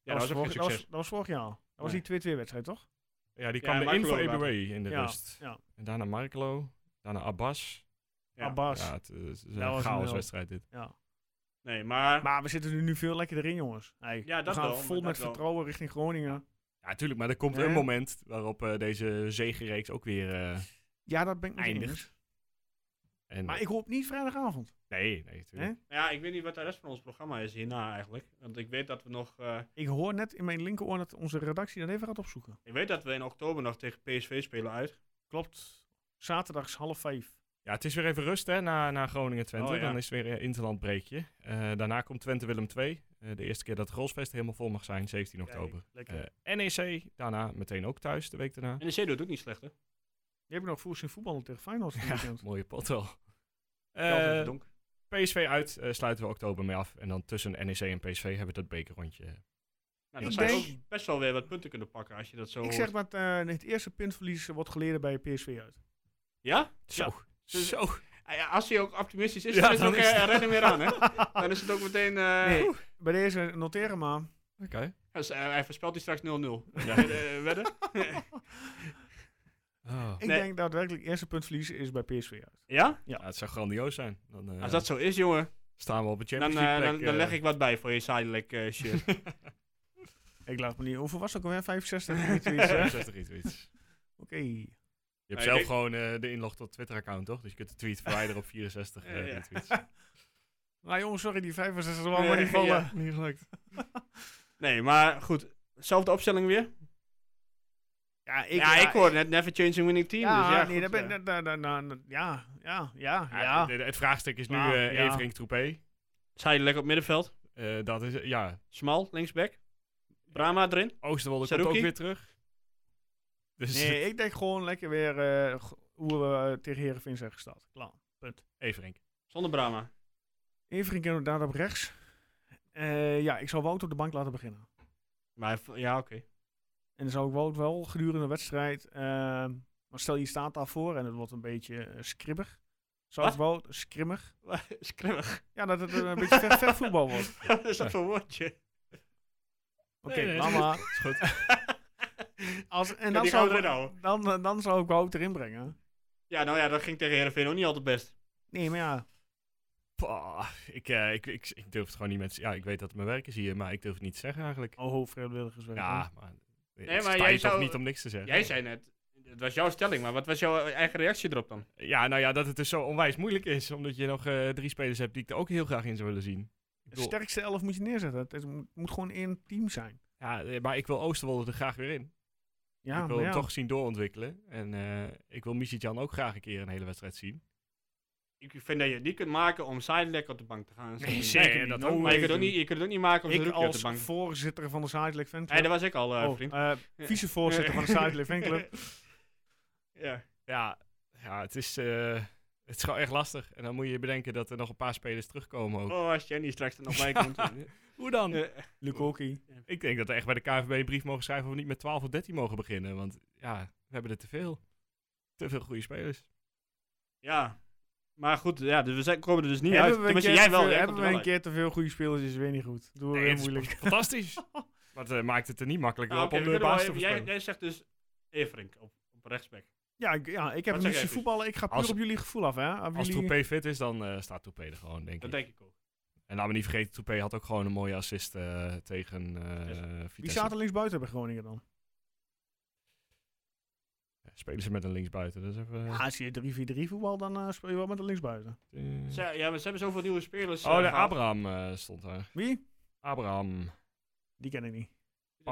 Ja, dat was ook vorig, geen dat, was, succes. dat was vorig jaar. Dat was Nee. die 2-2 wedstrijd toch? ja, die Ja, kwam en erin voor Marklo EBW in de Ja, rust. ja. En daarna Marklo, daarna Abbas. Ja. Abbas. Ja, het, eh, het is een was een chaoswedstrijd dit. Ja. Nee, maar... Maar we zitten er nu veel lekkerder in, jongens. Hey, Ja, dat we gaan wel, maar vol dat met wel. vertrouwen richting Groningen. Ja, tuurlijk, maar er komt Ja. een moment waarop eh, deze zegenreeks ook weer... eh, Ja, dat ben ik met je Eindigt. eens. En, Maar ik hoop niet vrijdagavond. Nee, nee, natuurlijk. Ja, ik weet niet wat de rest van ons programma is hierna eigenlijk. Want ik weet dat we nog. eh, Ik hoor net in mijn linkeroor dat onze redactie dat even gaat opzoeken. ik weet dat we in oktober nog tegen PSV spelen uit. Klopt. Zaterdags half vijf. Ja, het is weer even rust hè, na, na Groningen-Twente. Oh, ja. Dan is het weer een interlandbreekje. Eh, daarna komt Twente-Willem 2. Eh, de eerste keer dat Grolsfest helemaal vol mag zijn, 17 oktober. lekker. Eh, NEC, daarna meteen ook thuis de week daarna. En de C doet ook niet slecht, hè? Eh, Je hebt nog voers in voetballen tegen Feyenoord van het weekend. Mooie pot wel. Zelfs in Eh, het donker. PSV uit eh, sluiten we oktober mee af. En dan tussen NEC en PSV hebben we dat bekerrondje. Nou, dan ik zou je denk- ook best wel weer wat punten kunnen pakken als je dat zo. Ik zeg hoort. dat eh, het eerste puntverlies eh, wordt geleden bij PSV uit. eh, Ja? Zo, Dus- zo. Ah ja, Als hij ook optimistisch is, Ja, dan is het dan ook is eh, het- redding weer *laughs* aan, hè? Dan is het ook meteen. eh, Nee, bij deze noteren maar. Oké. dus, eh, hij voorspelt die straks 0-0. Ja. Eh, wedden? Oh. Ik Nee. denk daadwerkelijk het eerste puntverlies is bij PSV uit. Ja? Ja, het zou grandioos zijn. Dan eh, Als Nou, dat zo is, jongen, staan we op een dan, Champions eh, League dan, plek, dan eh. leg ik wat bij voor je sidelijk eh, shirt. *laughs* Ik laat me niet. Hoeveel was het ook alweer? 65? Iets, zoiets, hè? Oké. 65 iets, iets. Je hebt Nee, zelf ik- gewoon eh, de inlog tot Twitter-account, toch? Dus je kunt de tweet verwijderen op 64 eh, Ja, ja. retweets. Nou jongens, sorry, die 65 was allemaal Nee, niet vallen. ja. Niet gelukt. nee, maar goed. Zelfde opstelling weer? Ja, ik, ja, ik hoor net Never Changing Winning Team. Ja, dus ja, nee, daar goed, ben, eh. daar- daar- daar- daar- daar- ja, ja, ja, Ja, *laughs* ja. de- de- het vraagstuk is nu Nou, eh ja. Everink Troepé. Zijdelijk op middenveld. Eh, dat is, ja, Smal, linksback. Brahma erin. Oosterwolde komt Saruki? ook weer terug. Dus *laughs* Nee, ik denk gewoon lekker weer eh, g- hoe we eh, tegen Heerenveen zijn gestart. Klaar. Everink. Zonder Brahma. Everink inderdaad op rechts. Eh, ja, ik zou Wout op de bank laten beginnen. Maar hij v- ja, *laughs* oké. *laughs* En dan zou ik Wout wel gedurende de wedstrijd... ehm, maar stel je staat daarvoor en het wordt een beetje eh, skribbig. Zou Wat? ik Wout skrimmig? Skrimmig. Ja, dat het eh, *laughs* een beetje ver, ver voetbal wordt. Wat is dat voor woordje? Oké, Nee, nee, laat nee. maar. Is goed. *laughs* Als, en Ja, dan die zou, gaan we ik- erin nou. houden. dan, eh, dan zou ik Wout erin brengen. Ja, nou ja, dat ging tegen Heerenveen ook niet altijd best. Nee, maar ja. Pah, ik, eh, ik, ik, ik durf het gewoon niet met... Ja, ik weet dat het mijn werk is hier, maar ik durf het niet te zeggen eigenlijk. Oh, vrijwilligerswerk. hè? Ja, maar... eh, maar Nee, maar jij jij zou... zou- niet om niks te zeggen. Jij zei net, het was jouw stelling, maar wat was jouw eigen reactie erop dan? Ja, nou ja, dat het dus zo onwijs moeilijk is. Omdat je nog eh, drie spelers hebt die ik er ook heel graag in zou willen zien. Ik De bedoel, sterkste elf moet je neerzetten. Het is- moet- moet gewoon één team zijn. ja, eh, maar ik wil Oosterwolde er graag weer in. Ja, ik wil maar hem ja. toch zien doorontwikkelen. En eh, ik wil Misitjan ook graag een keer een hele wedstrijd zien. Ik vind dat je het niet kunt maken om Sidelek op de bank te gaan. zetten. zeker niet. dat No ook Maar je way. niet. kunt, ook niet, je kunt het ook niet maken om Ik Zerouki op de als bank te voorzitter van de Sidelight Fan Nee, Club. dat was ik al, eh, Oh, vriend. eh, vicevoorzitter van de Sidelight Fan *laughs* Club. *laughs* Ja. Ja, ja het, is, eh, het is gewoon echt lastig. En dan moet je bedenken dat er nog een paar spelers terugkomen ook. Oh, als Jenny straks er nog bij *laughs* komt. Hoe dan? Eh, Lukoki. Ik denk dat we echt bij de KVB een brief mogen schrijven of we niet met 12 of 13 mogen beginnen. Want ja, we hebben er te veel. Te veel goede spelers. ja. Maar goed, ja, dus we zijn- komen er dus niet uit. Hebben we een Tenminste, keer jij te wel. veel- Jij hebben komt we er wel een keer te veel goede spelers is weer niet goed. Doe we Nee, weer het is moeilijk. Fantastisch. *laughs* Maar het eh, maakt het er niet uit. makkelijker Nou, op oké, om we de kunnen baas wel te even- jij, verspelen. jij zegt dus Everink op, op rechtsback. Ja, ik, ja, ik heb Wat niet zeg zien jij, voetballen. Ik ga puur Als- op jullie gevoel af. Hè? Op Als jullie... Toupé fit is, dan eh, staat Toupé er gewoon, denk Dat ik. denk ik ook. En laat me niet vergeten, Toupé had ook gewoon een mooie assist eh, tegen eh Vitesse. Wie zaten links buiten bij Groningen dan? Ja, Spelen ze met een linksbuiten, dat is even... Ja, Ah, als je 3-4-3 voetbal, dan eh, speel je wel met een linksbuiten. eh, Ze, ja, maar ze hebben zoveel nieuwe spelers. eh, oh, nee, gehad. Abraham eh, stond daar. Wie? Abraham. Die ken ik niet. Dat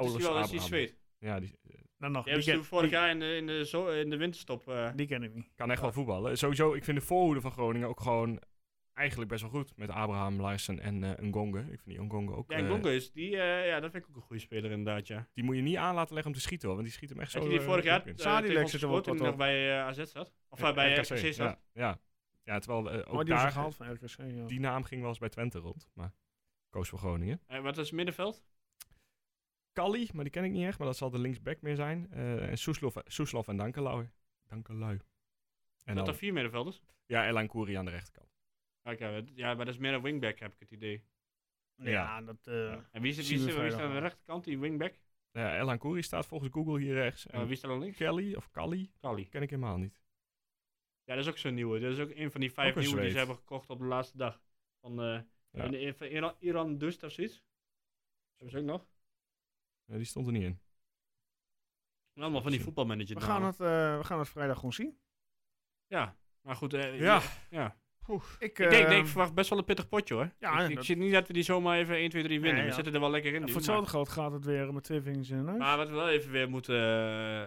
is die Paulus wel, dat is die Abraham. zweet. Ja, die Nou, nog. Die Die, hebben ze ken, toen vorig die- jaar in de, in de, zo, in de winterstop. eh, die ken ik niet. kan echt wel voetballen. Sowieso, ik vind de voorhoede van Groningen ook gewoon eigenlijk best wel goed. Met Abraham, Larsen en eh Ngonge. Ik vind die Ngonge ook... ja, eh, en Gongo is, die, eh, ja, dat vind ik ook een goede speler inderdaad, ja. die moet je niet aan laten leggen om te schieten, hoor. Want die schiet hem echt zo... Had je die eh, vorig jaar diep in. eh, Sadilek tegen ons zit er wel gescoord toen wat hij nog op. bij eh, AZ zat? Of eh, bij RKC, RKC zat? ja, ja. ja, terwijl eh, Maar ook Oh, die was daar... een gehaald van RKC. Ja. Die naam ging wel eens bij Twente rond, maar koos voor Groningen. Eh, Wat is middenveld? Kali, maar die ken ik niet echt, maar dat zal de linksback meer zijn. Eh, en Soeslof, Soeslof en Dankelui. Dankelui. En Dat dan, er vier middenvelders? ja, Elan Koeri aan de rechterkant. Ah, Oké, dat- ja, maar dat is meer een wingback, heb ik het idee. Ja, Ja. dat... eh, En wie zit, Zien wie we zit, wie zit aan vrijdag de wel. rechterkant, die wingback? Eh Elan Koeri staat volgens Google hier rechts. Eh, En wie staat aan links? Kelly of Kali Kali. ken ik helemaal niet. Ja, dat is ook zo'n nieuwe. Dat is ook een van die vijf Ook een nieuwe die ze Zweed. hebben gekocht op de laatste dag. Van, eh Ja. in- in- van Iran, Iran Dust of zoiets. Hebben ze ook nog? Eh, die stond er niet in. En Allemaal van die Zien. voetbalmanager we, gaan namen. het, eh, we gaan het vrijdag gewoon zien. Ja, Maar goed, eh, Ja. ja. Ik, Ik denk, eh, nee, ik verwacht best wel een pittig potje hoor. Ja, ik ik dat- zie niet dat we die zomaar even 1, 2, 3 winnen. Nee, ja. We zitten er wel lekker in. nu, voor maar- hetzelfde geld gaat het weer met twee vingers in de neus. Maar wat we wel even weer moeten, eh,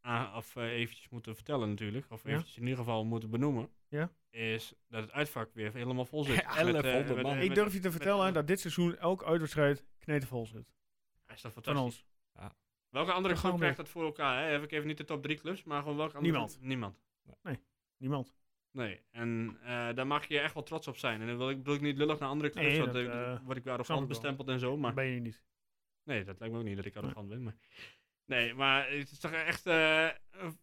aan- of eh, eventjes moeten vertellen natuurlijk, of Ja. eventjes in ieder geval moeten benoemen, Ja. is dat het uitvak weer helemaal vol zit. eh, Ja, 1100 man. ik durf je te vertellen met- dat dit seizoen elk uitwedstrijd knetenvol zit. Ja, is dat Van fantastisch. ons. Welke andere Dat club gaan we krijgt dat voor elkaar? Hè? Heb ik even niet de top drie clubs, maar gewoon welke andere Niemand. Niemand. Niemand. Nee, en eh, daar mag je echt wel trots op zijn. En dan wil ik, bedoel ik niet lullig naar andere clubs, Nee, want dat, dan eh, word ik weer snap ik wel. arrogant bestempeld en zo. Maar Dat ben je niet. Nee, dat lijkt me ook niet dat ik arrogant ben. Maar... Nee, maar het is toch echt. eh, eh,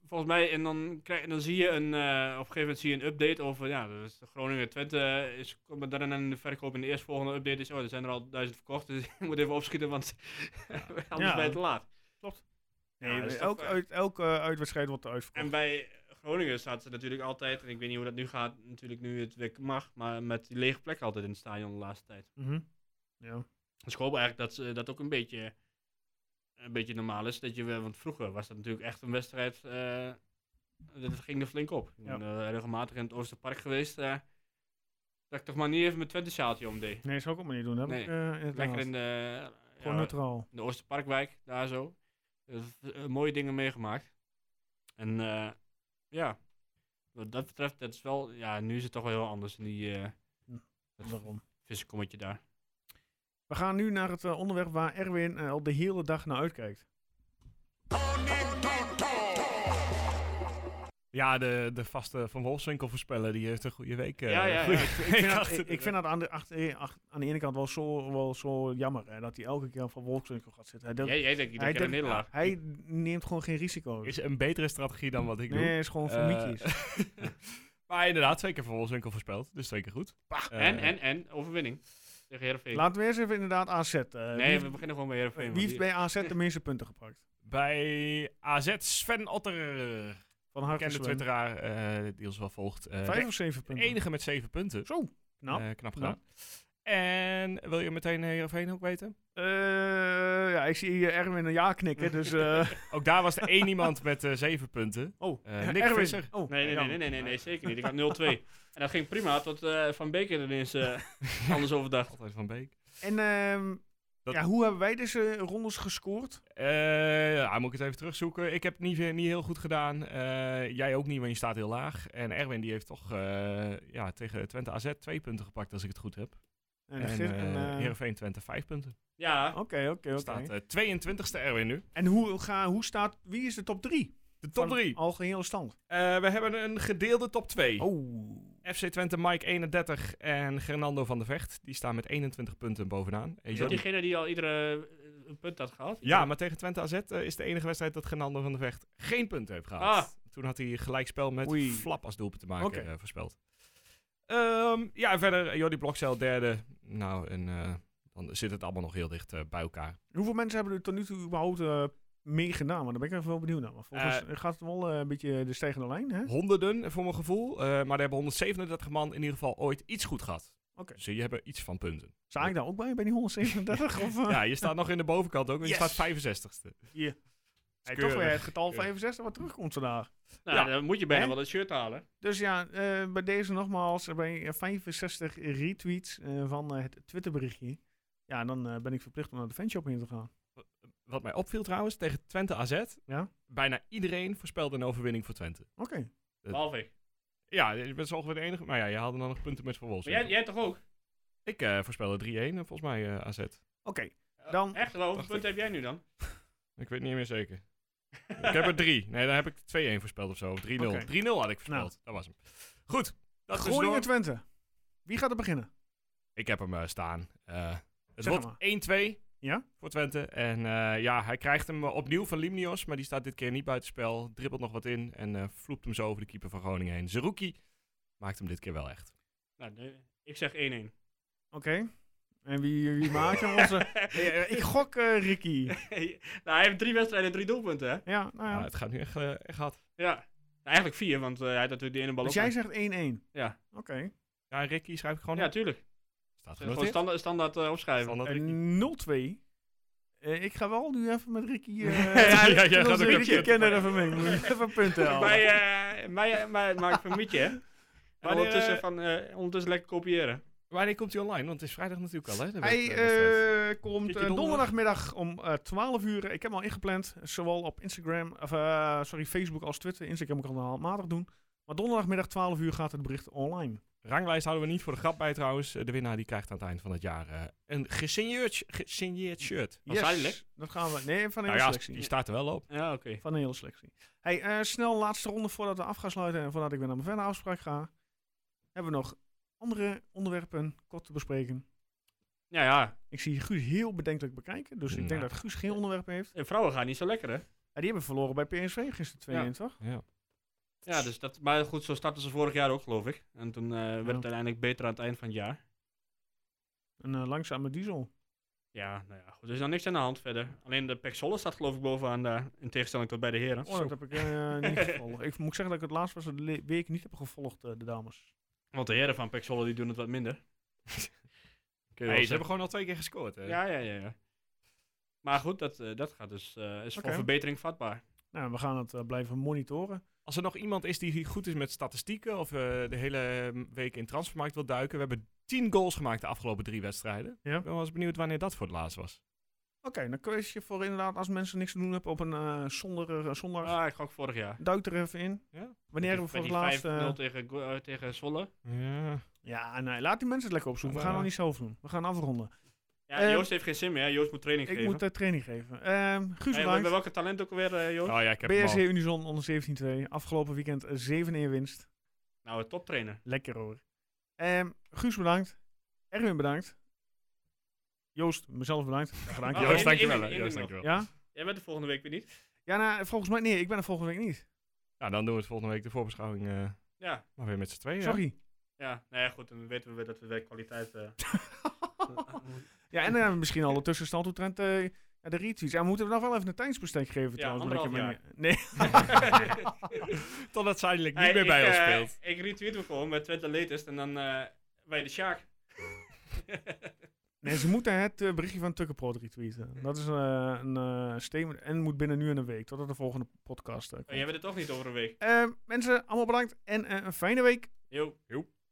volgens mij, en dan, krijg, en dan zie je een, eh, op een gegeven moment zie je een update over. Ja, dat is de Groningen Twente. eh, Is, komt daarin aan de verkoop. En de eerstvolgende update is. Oh, er zijn er al duizend verkocht. Dus *laughs* ik moet even opschieten, want *laughs* anders Ja. ben je te laat. Nee, dat is elk, toch, eh, uit, elk eh, uitwedstrijd wordt er uitverkocht. En bij Groningen staat ze natuurlijk altijd. En ik weet niet hoe dat nu gaat. Natuurlijk, nu het weer mag. Maar met die lege plek altijd in het stadion de laatste tijd. Mhm. ja. Dus ik hoop eigenlijk dat ze dat ook een beetje, een beetje normaal is. Dat je, weer- want vroeger was dat natuurlijk echt een wedstrijd. eh, dat ging er flink op. Ik Ja. ben eh, regelmatig in het Oosterpark geweest. eh, dat ik toch maar niet even mijn Twente sjaaltje omdeed. Nee, zou ik ook maar niet doen. Dat heb Nee. ik, eh, in het Lekker laatst. in de, Gewoon ja, neutraal. in de Oosterparkwijk, daar zo. Eh, v- eh, mooie dingen meegemaakt. En eh, ja, wat dat betreft, dat is wel, ja, nu is het toch wel heel anders in die eh Hm, dat Daarom. vissenkommetje daar. We gaan nu naar het eh, onderwerp waar Erwin eh, al de hele dag naar uitkijkt. Ja, de, de vaste Van Wolfswinkel voorspellen, die heeft een goede week. eh, Ja, ja, *laughs* ja. goede Ik- Ik vind, week dat, achter ik, de ik vind dat aan de, achter- ach- aan de ene kant wel zo, wel zo jammer. Hè, dat hij elke keer van Wolfswinkel gaat zitten. Hij, durft- Jij, jij denkt hij iedere keer een durft- nederlaag. hij neemt gewoon geen risico. Is een betere strategie dan wat ik doe. nee, is gewoon voor Eh, mietjes. *laughs* maar inderdaad, twee keer Van Wolfswinkel voorspeld, dus twee keer goed. Eh, en, en, en, overwinning. Tegen Heerenveen. Laten we eerst even inderdaad AZ. eh, nee, wie, we beginnen gewoon bij Heerenveen. wie want heeft bij AZ de minste punten gepakt? Bij AZ Sven Otter, Van harte bekende Sven. twitteraar eh, die ons wel volgt. Eh, Vijf de of zeven punten? enige met zeven punten. Zo, knap. Eh, knap gedaan. En wil je meteen Heerenveen ook weten? Eh, ja, ik zie hier Erwin een ja knikken, dus... eh, *laughs* Ook daar was er één iemand met eh, zeven punten. oh, Eh, Nick Erwin. Visser. Oh, Nee, nee, nee, ja. nee, nee, nee, zeker niet. Ik had 0-2. en dat ging prima, tot eh, Van Beker er eens eh, anders over dacht. Altijd van Beek. En ehm, Dat- ja, hoe hebben wij deze rondes gescoord? Eh ja, moet ik het even terugzoeken. Ik heb het niet, niet heel goed gedaan. Eh, jij ook niet, want je staat heel laag. En Erwin die heeft toch eh, ja, tegen Twente AZ twee punten gepakt, als ik het goed heb. En, En, de gis- en, eh, eh, Heerenveen Twente vijf punten. Ja, Oké, oké, Staat oké. eh, 22e Erwin nu. En hoe, ga, hoe staat... Wie is de top 3? De top drie. Algehele stand. Eh, we hebben een gedeelde top 2. Oh. FC Twente Mike 31 en Gernando van der Vecht. Die staan met 21 punten bovenaan. Eh, is dat Jordi- diegene die al iedere eh, een punt had gehad? Ja, maar tegen Twente AZ eh, is de enige wedstrijd dat Gernando van der Vecht geen punten heeft gehaald. Toen had hij gelijkspel met Ah. Oei. Flap als doelpunt te maken Oké. eh, voorspeld. Ehm, ja, en verder Jordi Blokcel derde. Nou, en eh, dan zit het allemaal nog heel dicht eh, bij elkaar. Hoeveel mensen hebben er tot nu toe überhaupt eh, meegedaan? Want daar ben ik even wel benieuwd naar. Want volgens Eh, mij gaat het wel eh, een beetje de stijgende lijn, hè? Honderden, voor mijn gevoel. eh, maar er hebben 137 man in ieder geval ooit iets goed gehad. Oké. Dus die hebben iets van punten. Sta ik daar ook bij, bij die 137? of, eh? *laughs* Ja, je staat nog in de bovenkant ook, want je Yes. staat 65ste. Hey, toch weer keurig. het getal Keurig. 65 wat terugkomt vandaag. Nou, Ja. dan moet je bijna Hè? wel een shirt halen. Dus ja, eh, bij deze nogmaals, eh, bij 65 retweets eh, van eh, het Twitterberichtje. Ja, dan eh, ben ik verplicht om naar de fanshop in te gaan. Wat mij opviel trouwens, tegen Twente AZ, Ja? bijna iedereen voorspelde een overwinning voor Twente. Oké. Eh, Behalve ik. Ja, je bent zo ongeveer de enige, maar ja, je haalde dan nog punten met Van Maar Wolfswinkel. jij, jij toch ook? Ik eh, voorspelde 3-1 eh, volgens mij eh, AZ. Oké, dan... Eh, Echt wel, hoeveel Dacht punten heb jij nu dan? Ik weet niet meer zeker. ik heb er 3. Nee, dan heb ik 2-1 voorspeld of zo. Of 3-0. 3-0 had ik voorspeld. Nou. Dat was hem. Goed. Dat is Groningen door. Twente. Wie gaat er beginnen? Ik heb hem eh, staan. Eh, het Zeg wordt maar. 1-2 Ja? voor Twente. En eh, ja, hij krijgt hem eh, opnieuw van Limnios, maar die staat dit keer niet buitenspel. Dribbelt nog wat in en eh vloept hem zo over de keeper van Groningen heen. Zerouki maakt hem dit keer wel echt. Nou, de- ik zeg 1-1. Nee, Oké. En wie, wie maakt hem onze... *laughs* Eh, eh, ik gok eh, Ricky. nou, hij heeft drie wedstrijden en drie doelpunten, hè? Ja, nou ja. Ja, het gaat nu echt, eh, echt hard. Ja. Nou, eigenlijk vier, want eh, hij had natuurlijk die ene bal Dus ook. jij zegt 1-1. Ja. Oké. Ja, Ricky schrijf ik gewoon Ja, op. tuurlijk. Staat Gewoon genoteerd. standaard, standaard eh, opschrijven. Standaard Ricky. En 0-2 Eh, ik ga wel nu even met Ricky... eh, Ja, ja, jij gaat onze ook een Ricky keer- Kenner even mee. Moet je even punten halen. Mij, eh, mij, mij maakt van mietje, hè? En Wanneer, ondertussen, eh, van, eh, ondertussen lekker kopiëren. Wanneer komt hij online? Want het is vrijdag natuurlijk al, hè? de Hij wed- wedstrijd. dus eh, komt Kijk je eh, donderdag? donderdagmiddag om eh, 12 uur. Ik heb hem al ingepland, zowel op Instagram, of, eh, sorry, Facebook als Twitter. Instagram kan ik al maandag doen. Maar donderdagmiddag 12 uur gaat het bericht online. Ranglijst houden we niet voor de grap bij trouwens. Eh, De winnaar die krijgt aan het eind van het jaar eh, een gesigneerd, sh- gesigneerd shirt. Van Zuidelijk? Dat gaan we. Nee, van de Nou hele ja, selectie. die staat er wel op. Ja, oké. Van de hele selectie. Hey, eh, snel laatste ronde voordat we af gaan sluiten en voordat ik weer naar mijn verder afspraak ga. Hebben we nog andere onderwerpen kort te bespreken? Ja, ja. Ik zie Guus heel bedenkelijk bekijken, dus ik denk Nou. dat Guus geen onderwerp heeft. En eh, vrouwen gaan niet zo lekker, hè? Ja, die hebben verloren bij PSV gisteren 2-1, toch? Ja. Ja, dus dat, maar goed, zo startten ze vorig jaar ook, geloof ik. En toen eh, werd het uiteindelijk beter aan het eind van het jaar. Een eh, langzame diesel. Ja, nou ja, goed. Er is nog niks aan de hand verder. Alleen de Pexolle staat geloof ik bovenaan daar. In tegenstelling tot bij de heren. Oh, dat heb ik eh, niet gevolgd. Ik moet zeggen dat ik het laatst was de le- week niet heb gevolgd, eh, de dames. Want de heren van Pexolle die doen het wat *laughs* minder. Hey, ze Kun je wel hebben zeggen. gewoon al twee keer gescoord. Hè? Ja, ja, ja. ja. Maar goed, dat, eh, dat gaat dus, eh, is Oké. voor verbetering vatbaar. Nou, we gaan het eh, blijven monitoren. Als er nog iemand is die goed is met statistieken of eh, de hele mm, week in transfermarkt wil duiken. We hebben tien goals gemaakt de afgelopen drie wedstrijden. Ja. Ik ben wel eens benieuwd wanneer dat voor het laatst was. Oké, dan kun je je voor inderdaad, als mensen niks te doen hebben op een eh zondag, eh, zondag Ah, ik gok vorig jaar. duik er even in. Ja. Wanneer hebben we voor het laatst... eh, 5-0 tegen, Go- eh, tegen Zwolle. Ja. ja, nee, laat die mensen het lekker opzoeken. we Ja. gaan het niet zelf doen. We gaan afronden. Ja, Eh, Joost heeft geen zin meer. hè. Joost moet training Ik geven. moet eh, training geven. Ehm Guus, Hey, bedankt. bij welke talent ook alweer, eh, Joost? Oh ja, ik heb BSC hem al. Unison onder 17-2. Afgelopen weekend eh, 7-1 winst. Nou, een toptrainer. Lekker hoor. Ehm Guus, bedankt. Erwin, bedankt. Joost, mezelf bedankt. Graag gedaan. Oh, Joost, in- dankjewel. in- hè. in- Joost, in- dankjewel. Ja? Jij bent de volgende week weer niet. Ja, nou, volgens mij... Nee, ik ben er volgende week niet. Nou, dan doen we het volgende week de voorbeschouwing eh, Ja, maar weer met z'n tweeën. Sorry. ja. Nou ja, goed. Dan weten we weer dat we weer kwaliteit... eh, Ja, en dan hebben we misschien al de tussenstand omtrent eh ja, de retweets. Ja, we moeten we nog wel even een tijdsbestek geven Ja, trouwens. anderhalf want ik heb hem niet- Totdat Zuidelijk niet Hey, meer bij ik, ons eh, speelt. Ik retweet hem gewoon met Twitter latest en dan eh wij de Sjaak. Nee, nee, ze moeten het eh, berichtje van Tukkenprot retweeten. Dat is eh, een eh, statement en moet binnen nu en een week. Totdat de volgende podcast eh, Oh, jij komt. bent het toch niet over een week. Eh, mensen, allemaal bedankt en eh, een fijne week. Yo.